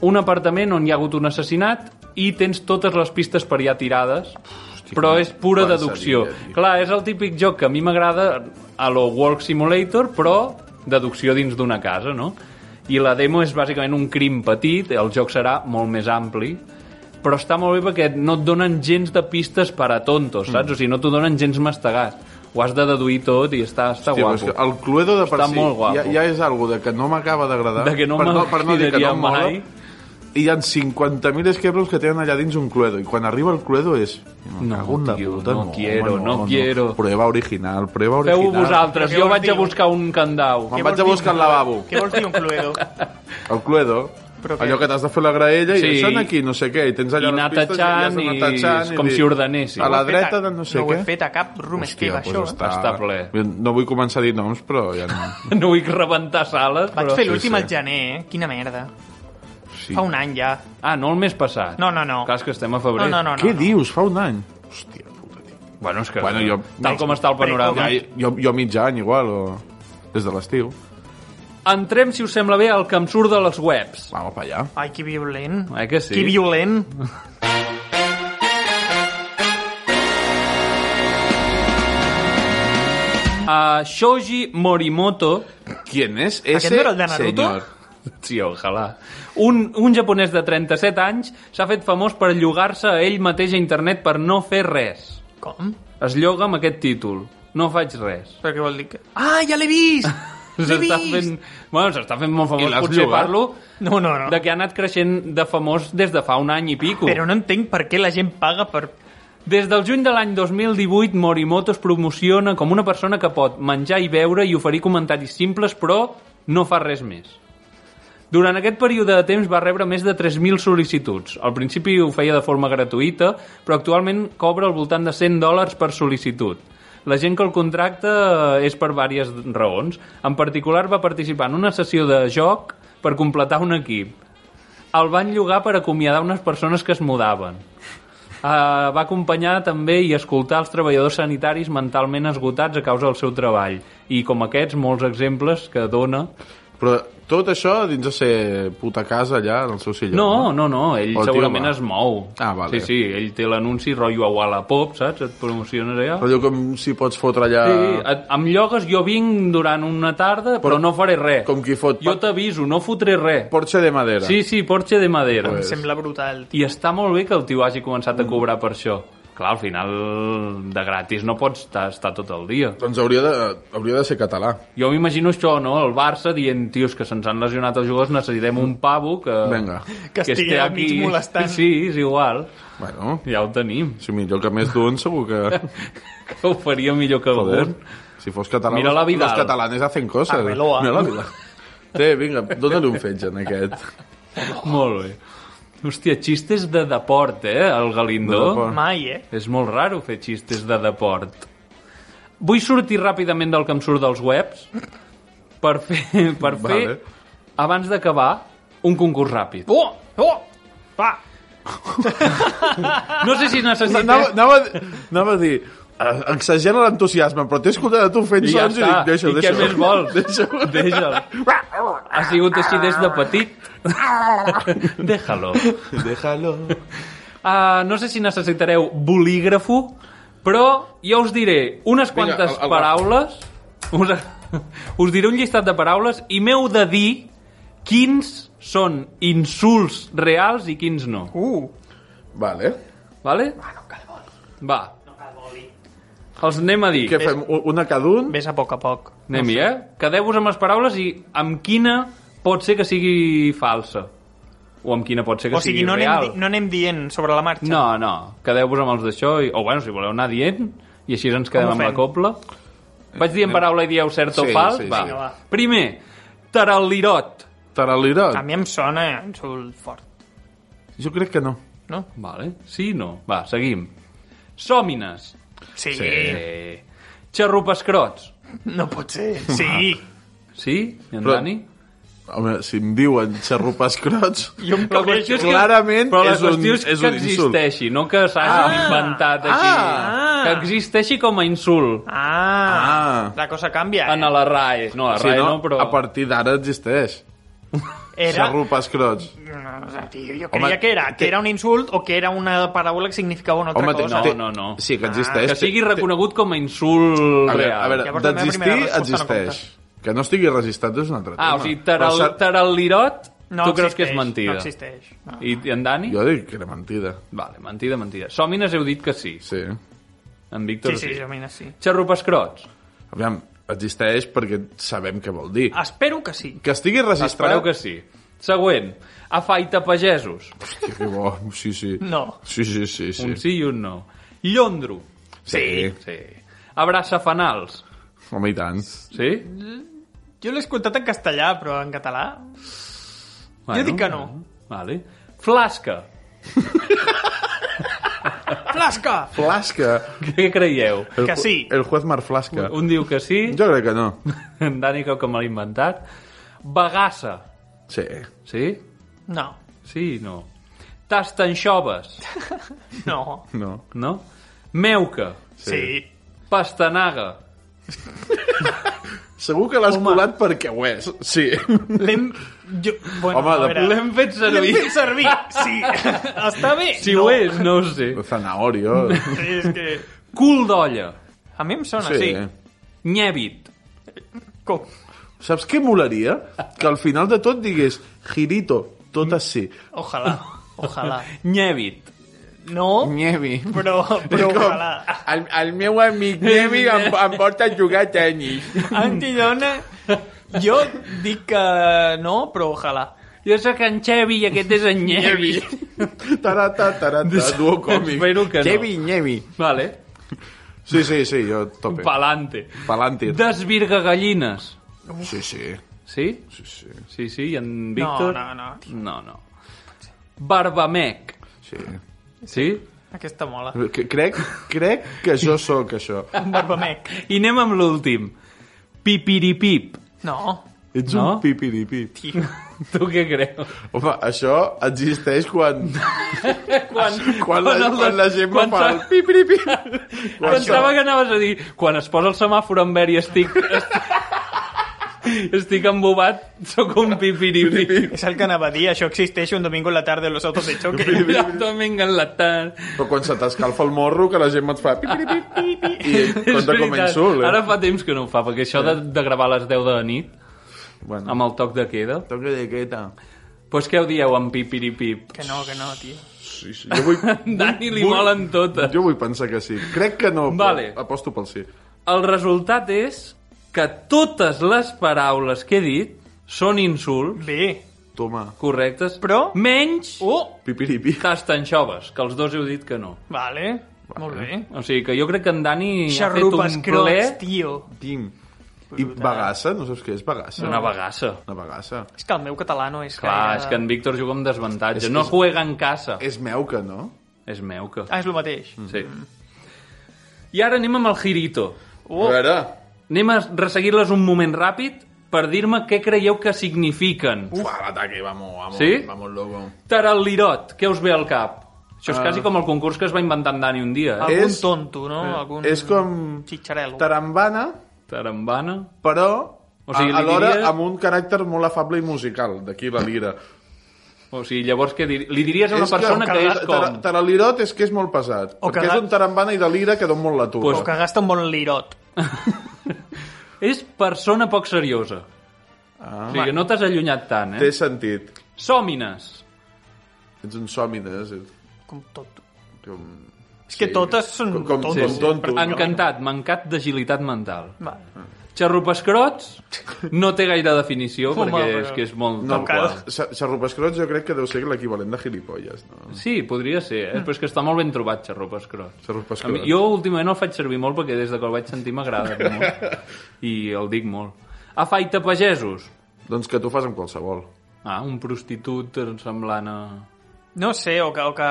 C: un apartament on hi ha hagut un assassinat i tens totes les pistes per allà tirades però és pura
D: quan
C: deducció.
D: seria, tio.
C: Clar, és el típic joc que a mi m'agrada a lo Walk Simulator, però deducció dins d'una casa, no? I la demo és bàsicament un crim petit, el joc serà molt més ampli, però està molt bé perquè no et donen gens de pistes per a tontos, saps?
D: Mm.
C: O sigui, no t'ho donen gens mastegat. Ho has de deduir tot i està, està
D: Hòstia, però és
C: guapo.
D: que el Cluedo de per
C: Està
D: si
C: molt guapo.
D: ja, ja és algo de que no m'acaba d'agradar
C: De que no
D: per, no, per no dir que
C: m'agradaria
D: no em mola
C: mai.
D: i hi ha 50.000 esquebros que tenen allà dins un Cluedo i quan arriba el Cluedo és me
C: No,
D: cago en la
C: tio,
D: puta,
C: no quiero, no quiero.
D: prueba original, prueba original
C: Feu-ho vosaltres,
B: Però què
C: jo
B: vols
C: vaig
B: dir?
C: a buscar un candau.
D: me'n
B: Què
D: vaig
B: vols
D: a
B: dir,
D: buscar
B: un
D: el
B: cluedo?
D: lavabo
B: Què vols dir un cluedo?
D: el Cluedo
B: Però què?
D: allò que t'has de fer la graella i
C: Sí.
D: això en aquí, no sé què i tens allà
C: I anar
D: les pistes has
C: tachant
D: d'anar
C: i
D: tachant
C: és com
D: dir,
C: si ordenessis.
D: a la
B: Ho he fet
D: dreta
B: a-
D: de no sé
B: no
D: què
B: ho he fet a cap room escape,
D: Hòstia,
B: això.
D: doncs
B: eh?
D: està,
C: Està ple.
D: no vull començar a dir noms però ja no
C: No vull rebentar sales,
B: Vaig
C: però...
B: fer l'últim
D: sí.
B: al gener, eh? Quina merda.
D: sí.
B: Fa un any ja.
C: Ah, no el mes passat.
B: No, no, no.
C: Clar, és que estem a
B: No,
C: febrer.
B: no, no.
D: Què
B: no.
D: dius? Fa un any? Hòstia puta, tio.
C: Bueno, és que
D: Bueno, jo-
C: tal com està el panorama...
D: Ja, jo, jo mig any, igual, o... Des de l'estiu.
C: Entrem, si us sembla bé, al que em surt de les webs.
D: Vamos pa allà.
B: Ai, que violent.
C: Eh que sí?
B: Que violent.
C: A Shoji Morimoto,
D: ¿Quién es
B: Aquest
D: ese
B: no era el de Naruto?
D: senyor?
C: sí, ojalà, un, un japonès de 37 anys s'ha fet famós per llogar-se a ell mateix a internet per no fer res.
B: Com?
C: Es lloga amb aquest títol. No faig res.
B: Però què vol dir? Que... Ah, ja l'he vist! L'he
C: [laughs] S'està
B: vist!
C: fent... Bueno, s'està fent molt
D: I
C: famós.
D: l'has
C: Potser
D: llogat? Ah.
C: parlo
B: No, no, no.
C: de que ha anat creixent de famós des de fa un any i pico.
B: Però no entenc per què la gent paga per...
C: Des del juny de l'any 2018, Morimoto es promociona com una persona que pot menjar i beure i oferir comentaris simples, però no fa res més. Durant aquest període de temps va rebre més de 3.000 sol·licituds. Al principi ho feia de forma gratuïta, però actualment cobra al voltant de 100 dòlars per sol·licitud. La gent que el contracta eh, és per diverses raons. En particular va participar en una sessió de joc per completar un equip. El van llogar per acomiadar unes persones que es mudaven. Uh, va acompanyar també i escoltar els treballadors sanitaris mentalment esgotats a causa del seu treball. I com aquests, molts exemples que dona
D: Però tot això dins de ser puta casa allà, en el seu silló.
C: No, no, no, ell
D: El tio
C: segurament
D: va.
C: es mou.
D: Ah,
C: Sí,
D: vale.
C: sí, ell té l'anunci rotllo a Wallapop, saps? Et promociones allà.
D: Allò com si pots fotre allà...
C: Sí, et- amb llogues jo vinc durant una tarda, però,
D: eh, Però-
C: no faré res.
D: com qui fot-
C: Jo t'aviso, no fotré res.
D: Porche de madera.
C: Sí, sí, Porsche de madera.
D: Pues-
B: Em sembla brutal.
C: I està molt bé que el tio hagi començat a cobrar per això. Clar, al final, de gratis no pots estar, estar tot el dia.
D: Doncs hauria de, hauria de ser català.
C: Jo m'imagino això, no? El Barça dient, tios, que se'ns han lesionat els jugadors, necessitem un pavo que...
D: Vinga.
B: Que estigui al mig molestant.
C: Sí, és igual.
D: Bueno,
C: Ja ho tenim. [laughs]
D: si millor que més d'un segur que...
C: Que ho faria millor que
D: Joder.
C: algun.
D: Si fos català,
C: Mira
D: los-
C: la Vidal.
D: los catalanes hacen coses.
B: Pameloa.
D: Mira la Vidal. Té, vinga, dóna-li un fetge en aquest.
C: Molt bé. Hòstia, xistes de deport, eh, el Galindo.
D: De deport.
B: Mai, eh?
C: És molt raro fer xistes de deport. Vull sortir ràpidament del que em surt dels webs per fer, per fer
D: Vale.
C: abans d'acabar, un concurs ràpid.
B: Oh! Oh! Va!
C: No sé si necessites...
D: Anava, anava, anava a dir, eh, exagera l'entusiasme, però t'he escoltat tu fent
C: I ja
D: sons i
C: està.
D: dic, deixa-ho,
C: I què
D: deixa-ho.
C: més vols?
D: Deixa-ho.
C: Deixa'l. Ha sigut així des de petit. Déjalo.
D: Déjalo.
C: Uh, no sé si necessitareu bolígrafo, però ja us diré unes
D: Vinga,
C: quantes
D: el- el-
C: paraules... Us, us diré un llistat de paraules i m'heu de dir quins són insults reals i quins no.
B: Uh!
D: Vale.
C: Vale? Va, Ah, no cal boli. Va. No cal boli. Els anem a dir.
D: Què fem? U- Una cada un?
B: Ves a poc a poc.
C: Anem-hi, eh? Quedeu-vos amb les paraules i amb quina pot ser que sigui falsa. O amb quina pot ser que
B: O sigui,
C: sigui
B: no
C: real.
B: anem, di- no anem dient sobre la marxa.
C: No, no, quedeu-vos amb els d'això, i... o bueno, si voleu anar dient, i així ens quedem
B: Com ho
C: amb la
B: fem?
C: copla. Vaig dir en paraula i dieu cert o
D: Eh, Sí,
C: fals?
D: sí,
C: va.
D: sí.
B: Va.
C: Primer, taralirot.
D: Taralirot?
B: A mi em sona insult fort,
D: Jo crec que no.
B: no?
C: Vale. Sí, no. Va, seguim. Sòmines.
B: Sí.
C: Eh. Xarrupescrots.
B: No pot
C: [laughs]
B: ser. Sí.
C: Sí? I en
D: Però-
C: Dani?
D: Home, si em diuen xarrupes crots...
C: [laughs]
B: Jo em
C: Però la qüestió és que-
D: Clarament
C: però la
D: és un-
C: qüestió és,
D: és
C: que
D: un insult.
C: existeixi, no que s'hagi
B: Ah.
C: inventat aquí.
B: Ah.
C: Que existeixi com a insult.
B: Ah,
D: Ah.
B: la cosa canvia. eh?
C: En la RAE. No, a la
D: Sí,
C: RAE
D: no?
C: no, però...
D: A partir d'ara existeix.
B: Era...
D: Xarrupes crots.
B: No, no sé, tio, jo
D: Home,
B: creia que era, que
D: té-
B: era un insult o que era una paraula que significava una altra
D: té-
B: cosa.
D: té-
C: No, no, no. Ah,
D: Sí, que existeix.
C: Que
D: té-
C: sigui
D: té-
C: reconegut com a insult
D: A veure,
C: real.
D: a veure
B: Llavors la meva
D: d'existir,
B: primera resposta no
D: existeix. que no estigui registrat és un altre tema.
C: Ah, o sigui,
D: Però
C: taral,
D: s'ha-
C: taralirot,
B: No
C: tu creus
B: existeix,
C: que és mentida.
B: No existeix. No.
C: I, I en Dani?
D: Jo dic que era mentida.
C: Vale, mentida, mentida. Sòmines heu dit que sí.
D: Sí.
C: En Víctor
B: Sí, sí, jo mira, sí.
C: Xarrupescrots.
D: Aviam, existeix perquè sabem què vol dir.
B: Espero que sí.
D: Que estigui registrat...
C: Espereu que sí. Següent. Afaita pagesos.
D: Hòstia, [laughs] que bo. Sí, sí.
B: No.
D: Sí, sí,
C: Sí.
D: sí. sí.
C: Un sí i un no. Llondro.
D: Sí.
C: Sí. Abraça fanals.
D: Home, i tant.
C: Sí?
B: Jo l'he escoltat en castellà, però en català... Jo dic que no.
C: Vale. Flasca.
B: Flasca!
D: Flasca.
C: Què creieu?
D: El
B: Que
D: ju-
B: sí.
D: El juez Mar Flasca.
C: Un diu que sí,
D: Jo crec que no.
C: en Dani creu que me l'ha inventat. Bagassa.
D: Sí.
C: Sí?
B: No,
C: Sí i no. Tastanxoves,
B: no,
D: No.
C: no? Meuca,
B: sí.
C: pastanaga.
D: Segur que l'has colat perquè ho és. Sí.
B: L'hem... Jo... Bueno,
D: Home,
B: a
D: de-
B: veure...
C: L'hem fet servir.
B: L'hem fet servir, sí. Està bé.
C: Si
B: no.
C: ho és, no ho sé.
D: Zanahorio. [laughs]
B: És que...
C: Cul d'olla,
B: A mi em sona, sí.
C: nyèbit.
B: Com?
D: Saps què molaria? Que al final de tot digués girito, tot així.
B: Ojalà, ojalà.
C: [laughs] Nyèbit.
B: No,
D: Nievi.
B: però, però ojalà.
D: El, el meu amic Nievi em, em porta a jugar a tenis.
B: Antidona, jo dic que Eh, no, però ojalà.
C: Jo sóc en Xevi i aquest és en Nyevi.
D: Tarata, tarata, duo còmic.
C: Espero que no.
D: Nievi, Nievi.
C: Vale.
D: Sí, sí, sí, jo tope.
C: Palante.
D: Palantir.
C: Desvirga gallines.
D: Sí, sí.
C: Sí?
D: sí, sí.
C: Sí, sí, i en Víctor?
B: No, no, no.
C: No, no. Barbamec.
D: sí.
C: Sí?
B: Aquesta mola.
D: Que- Crec, crec que jo sóc això.
B: Un barbamec.
C: I anem amb l'últim. Pipiripip.
B: No,
D: Ets
C: No?
D: un pipiripi.
B: tio.
C: Tu què creus?
D: Home, això existeix quan...
C: [laughs] quan,
D: quan la-
C: el-
D: quan la gent
C: quan
D: va pel
C: se-
D: pipiripi. Quan
C: Pensava que anaves a dir, quan es posa el semàfor en verd i estic... estic- Estic embobat, sóc un pipiripi.
B: És el que anava a dir, això existeix un domingo a la tarda en los autos de choque.
C: [laughs] Domingo en la tarda.
D: Però quan se t'escalfa el morro, que la gent et fa... Pi, pi, pi, pi, pi, I compta com a insult. Eh?
C: Ara fa temps que no ho fa, perquè això de, de gravar a les 10 de la nit,
D: Bueno,
C: amb el toc de queda...
I: Toque de queta.
C: Doncs pues què ho dieu amb pipiripip?
B: Que no, que no, tio.
D: sí, sí, jo, vull,
C: Dani li
D: Vull-
C: molen totes.
D: jo vull pensar que sí. Crec que no, però
C: Vale.
D: aposto pel sí.
C: El resultat és que totes les paraules que he dit són insults
B: Bé,
D: Toma,
C: correctes,
B: Però-
C: menys
B: oh,
D: pipiripi.
C: castanxoves, que els dos heu dit que no.
B: vale, molt bé.
C: O sigui que jo crec que en Dani ha fet
B: Xarrupes
C: un ple
B: crocs, tio.
D: Tim. I bagassa? No saps què és bagassa?
C: d'una bagassa.
D: Una bagassa.
B: És que el meu català no és
C: Clar,
B: gaire-
C: és que en Víctor juga amb
D: És
C: desavantatge.
D: que
C: No
D: és- Eh.
C: juega en casa.
D: És meuca, no?
C: És meu que...
B: Ah, és el mateix.
C: Sí. I ara anem amb el girito.
D: Oh. A veure,
C: Anem a resseguir-les un moment ràpid per dir-me què creieu que signifiquen.
D: Uf. l'ataque, vamos, vamos,
C: Sí?
D: vamos loco.
C: Taralirot, què us ve al cap? Això és quasi com el concurs que es va inventar en Dani un dia, eh?
B: Algun
D: És-
B: tonto, no? Algun
D: És com
B: xitxarel·lo.
D: tarambana,
C: Tarambana.
D: però
C: O sigui,
D: a-
C: li
D: alhora
C: diries-
D: amb un caràcter molt afable i musical, d'aquí la lira.
C: O sigui, llavors què dir... li diries a una
D: És
C: persona que, és com...
D: tara- Taralirot és que és molt pesat.
B: O
D: perquè
B: cagat.
D: és un tarambana i de lira que don molt Ah, la turra.
B: O que gasta un bon lirot.
C: És persona poc seriosa. Ah, o sigui, que no t'has allunyat tant, eh?
D: Té sentit.
C: Sòmines.
D: Ets un sòmines. ets
B: Com tonto.
D: Com...
B: És que totes són
D: com, com,
B: tontos.
D: Com tonto.
C: Encantat, mancat d'agilitat mental.
B: Vale.
C: Xarrupescrots no té gaire definició,
B: Home,
C: perquè
B: però-
C: és que és molt...
D: No,
C: tal qual.
D: Sa- Xarrupescrots jo crec que deu ser l'equivalent de gilipolles, no?
C: Sí, podria ser, eh? però és que està molt ben trobat xarrupescrots. A
D: Xarrupescrots.
C: mi, jo últimament el faig servir molt perquè des de que el vaig sentir m'agrada molt i el dic molt. Afaita pagesos.
D: Doncs que tu fas amb qualsevol.
C: Ah, un prostitut semblant a...
B: No sé, o que, o que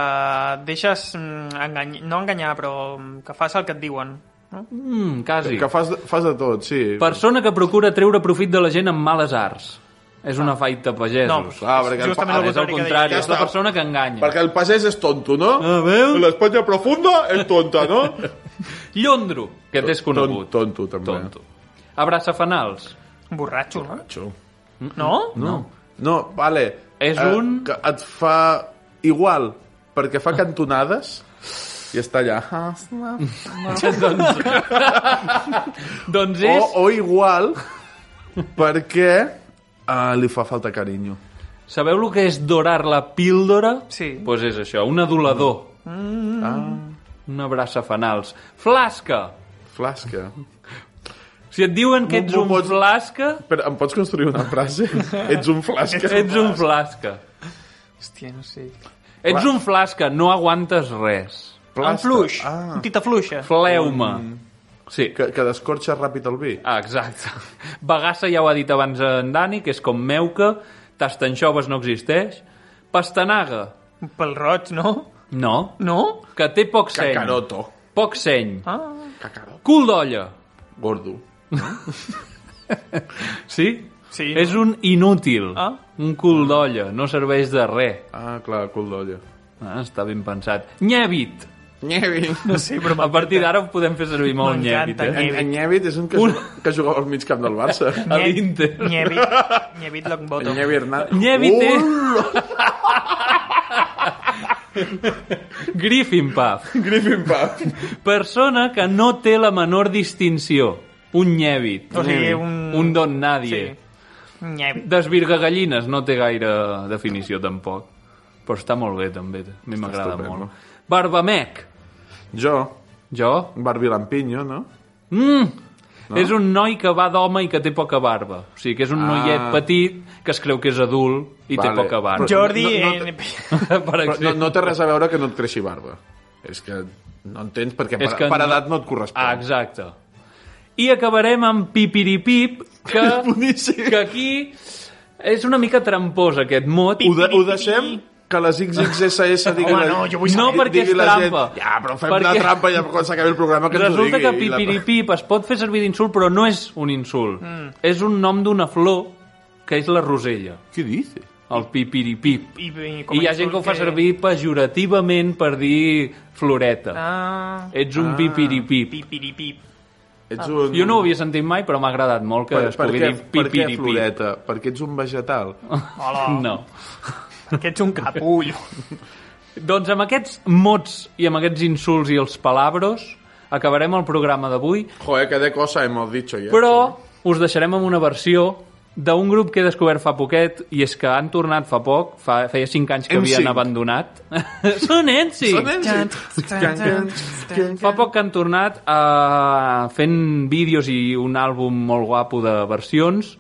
B: deixes mm, engany... no enganyar, però mm, que fas el que et diuen.
C: Mm, quasi.
D: Que fas, fas de tot, sí.
C: Persona que procura treure profit de la gent amb males arts. És una faita
B: No,
C: pagesos.
D: clar, perquè el
B: justament
D: pa-
B: el
C: és Ah,
B: contrari. que
C: el
B: deia.
C: contrari, és la
D: està.
C: persona que enganya.
D: Perquè el pagès és tonto, no?
C: Ah, veus?
D: L'Espanya profunda és tonta,
C: [laughs]
D: no?
C: Llondro, que t'és conegut.
D: Ton- tonto, també.
C: Tonto. Abraça fanals.
B: Un borratxo, no?
D: Xo.
B: No?
C: No.
D: No, vale.
C: És
D: Eh,
C: un-
D: Que et fa igual, perquè
C: [laughs]
D: fa cantonades i està allà.
C: doncs... doncs
D: O,
C: és...
D: o igual, perquè uh, li fa falta carinyo.
C: Sabeu el que és dorar la píldora?
B: Sí.
C: Doncs pues és això, un adulador. Mm. Ah. Una brassa fanals. Flasca!
D: Flasca.
C: Si et diuen que ets
D: M'ho-
C: un
D: m'ho pots-
C: flasca,
D: Però em pots construir una
C: [laughs]
D: frase? Ets un flasca.
C: ets un flasca.
B: Hòstia, no sé.
C: Ets un flasca, no aguantes res.
B: En
D: Plasta.
B: fluix.
D: Ah.
B: Un tita fluixa.
C: Fleuma. Sí,
D: Que, que descorxa ràpid el vi.
C: ah, exacte. Bagassa ja ho ha dit abans en Dani, que és com meuca, tastanxoves no existeix. Pastanaga,
B: Un pèl roig, no?
C: no,
B: No?
C: que té poc seny.
D: Cacaroto.
C: Poc seny.
B: Ah,
C: Cul d'olla. [laughs]
D: Gordo.
C: Sí?
B: Sí.
C: És un inútil.
B: Ah.
C: Un cul d'olla. No serveix de res.
D: Ah, clar, cul d'olla.
C: Ah, està ben pensat. Nyèbit.
B: no sé, però
C: A partir d'ara ho podem fer servir molt nyèbit,
B: M'encanta,
C: eh?
D: En, en Nyevit és un que,
C: Un-
D: un... que jugava al mig camp del Barça.
C: A l'Inter.
B: Nyevit. Nyevit Longbottom.
D: En Nyevi Uh, Hernández.
C: Nyevit, eh?
D: Ul!
C: Griffin Puff.
D: Griffin Puff.
C: Persona que no té la menor distinció. Un nyèbit.
B: O sigui, un-
C: Un don nadie.
B: Mm. Sí. Nyevit.
C: Desvirgagallines no té gaire definició, tampoc. Però està molt bé, també. A mi m'agrada
D: estupendo.
C: molt. Barbamec.
D: Jo,
C: Jo?
D: Barbie Lampiño, no?
C: Mm. No? És un noi que va d'home i que té poca barba. O sigui, que és un
D: Ah.
C: noiet petit que es creu que és adult i té
D: Vale.
C: poca barba.
D: Però-
B: Jordi... eh,
D: No, no,
B: en-
C: [laughs] per
D: Però no,
C: exemple.
D: no té res a veure que no et creixi barba. És que no entens perquè per,
C: És que
D: per
C: no-
D: edat no et correspon.
C: Ah, exacte. I acabarem amb Pipiripip,
D: [laughs]
C: que,
D: boníssim.
C: que aquí és una mica trampós, aquest mot.
D: Ho, de, ho deixem que les XXSS diguin...
B: Home,
D: la-
B: no, jo vull
C: No,
B: saber.
C: perquè
D: digui
C: és
D: la
C: trampa.
D: Gent, ja, però fem
C: Perquè
D: la trampa ja quan s'acabi el programa que
C: Resulta
D: ens ho
C: que
D: digui. i la-
C: Pipiripip es pot fer servir d'insult, però no és un insult.
B: Mm.
C: És un nom d'una flor que és la rosella,
D: Què dices?
C: el Pipiripip.
B: I, i, com
C: I hi ha
B: insult
C: gent que ho fa servir pejorativament per dir floreta.
B: Ah,
C: Ets un pipiripip.
B: pipiripip.
D: Ah.
J: Ets un...
C: Jo no ho havia sentit mai, però m'ha agradat molt que
J: Per,
C: es
J: per,
C: pugui
J: què,
C: dir
J: per què,
C: pipiripi.
J: Floreta? Perquè ets un vegetal.
C: Ah.
B: Hola.
C: No.
B: Que ets un capullo. [laughs]
C: Doncs amb aquests mots i amb aquests insults i els palabros acabarem el programa d'avui,
J: Joder, que de cosa hemos dicho ya.
C: però us deixarem amb una versió d'un grup que he descobert fa poquet i és que han tornat fa poc, fa, feia 5 anys que
J: NSYNC.
C: havien abandonat. [laughs] Són Ensi!
J: Són eh? ells? Can, can, can,
C: Fa poc que han tornat a fent vídeos i un àlbum molt guapo de versions.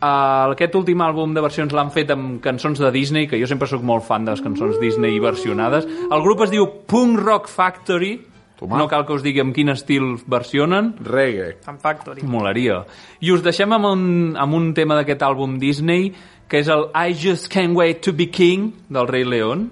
C: Eh, Aquest últim àlbum de versions l'han fet amb cançons de Disney, que jo sempre sóc molt fan de les cançons Disney versionades. El grup es diu Punk Rock Factory.
J: Toma.
C: No cal que us digui amb quin estil versionen.
J: Reggae.
B: Fan Factory.
C: Molaria. I us deixem amb un, amb un tema d'aquest àlbum Disney, que és el I Just Can't Wait to Be King, del rei León.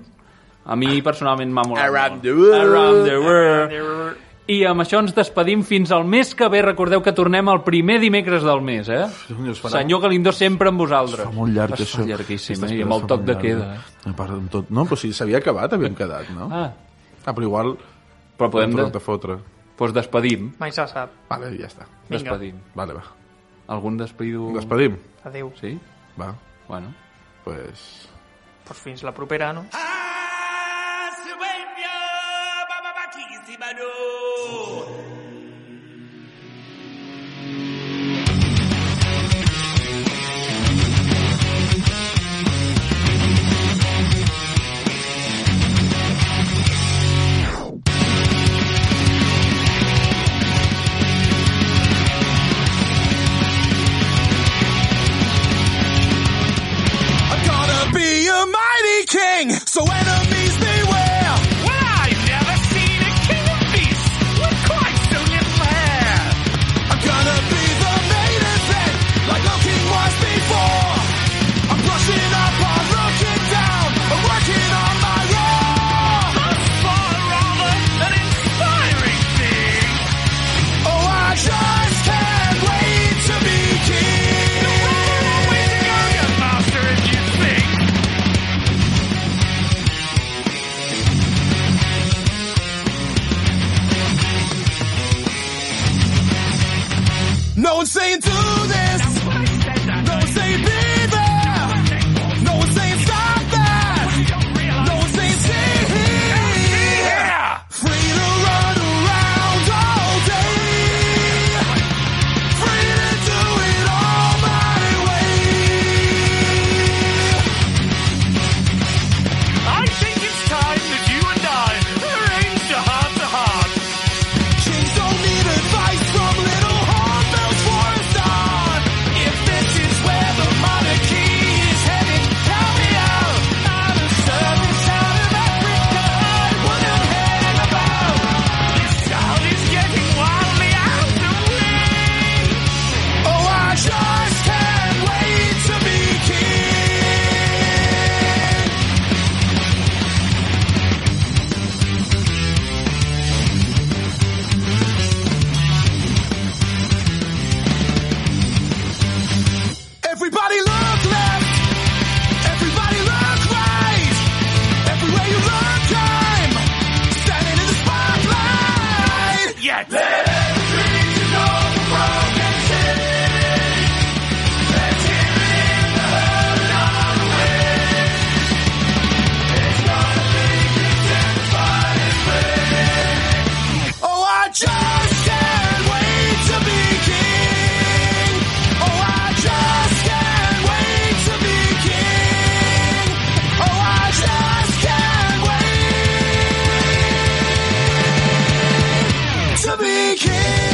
C: A mi personalment m'ha molat
J: Around
C: molt.
J: the world.
C: Around the world. I amb això ens despedim fins al mes que ve. Recordeu que tornem el primer dimecres del mes, eh?
J: Senyor, es farà-
C: Senyor Galindo sempre amb vosaltres.
J: Fa molt llarg,
C: Es fa
J: això.
C: llarguíssim,
J: Aquesta
C: eh? I amb el
J: espera
C: toc
J: fa
C: de
J: molt
C: queda.
J: llarg. eh? A part amb tot... No, però si s'havia acabat, havíem quedat, no?
C: Eh? Ah,
J: Ah, però igual...
C: però podem...
J: Podem
C: De...
J: de... fotre.
C: Pues doncs despedim.
B: Mai se sap.
J: Vale, ja està.
B: Vinga.
C: Despedim.
J: Vale, va.
C: Algun despedido...
J: Despedim?
B: Adéu.
C: Sí?
J: Va,
C: Bueno.
J: pues...
B: Pues fins la propera, no?
F: Ah, Sueño, mamá maquísima, no. I'm gonna be a mighty king, so enemies beware. Well, I've never seen a king of beasts with quite so little hair. I'm gonna be the main event, like no king was before. I'm brushing up, I'm looking down, I'm working on my roar. Thus far, rather an inspiring thing. Oh, I just can't wait to be king. way to go, you monster, if you think. No one's saying do this. No one's saying be there. No one's saying stop that. No one's saying see here. Free to run around all day. Free to do it all my way. I think it's time that you and I arranged a heart to heart. Kings don't need advice from little hornbills for a start. If this is where the monarchy is headed, count me out. Out of service, out of Africa, I wouldn't hang about. This town is getting wildly out of wing. Oh, I just can't wait to be king. Everybody look left. Everybody look right. Everywhere you look, I'm standing in the spotlight. Yet let every dream you know the world can see. Let's hear it in the herd and on the wind. It's gonna be intensified and free. Oh, I just can't wait to be king. Oh, I just can't wait to be king. Oh, I just can't wait to be king.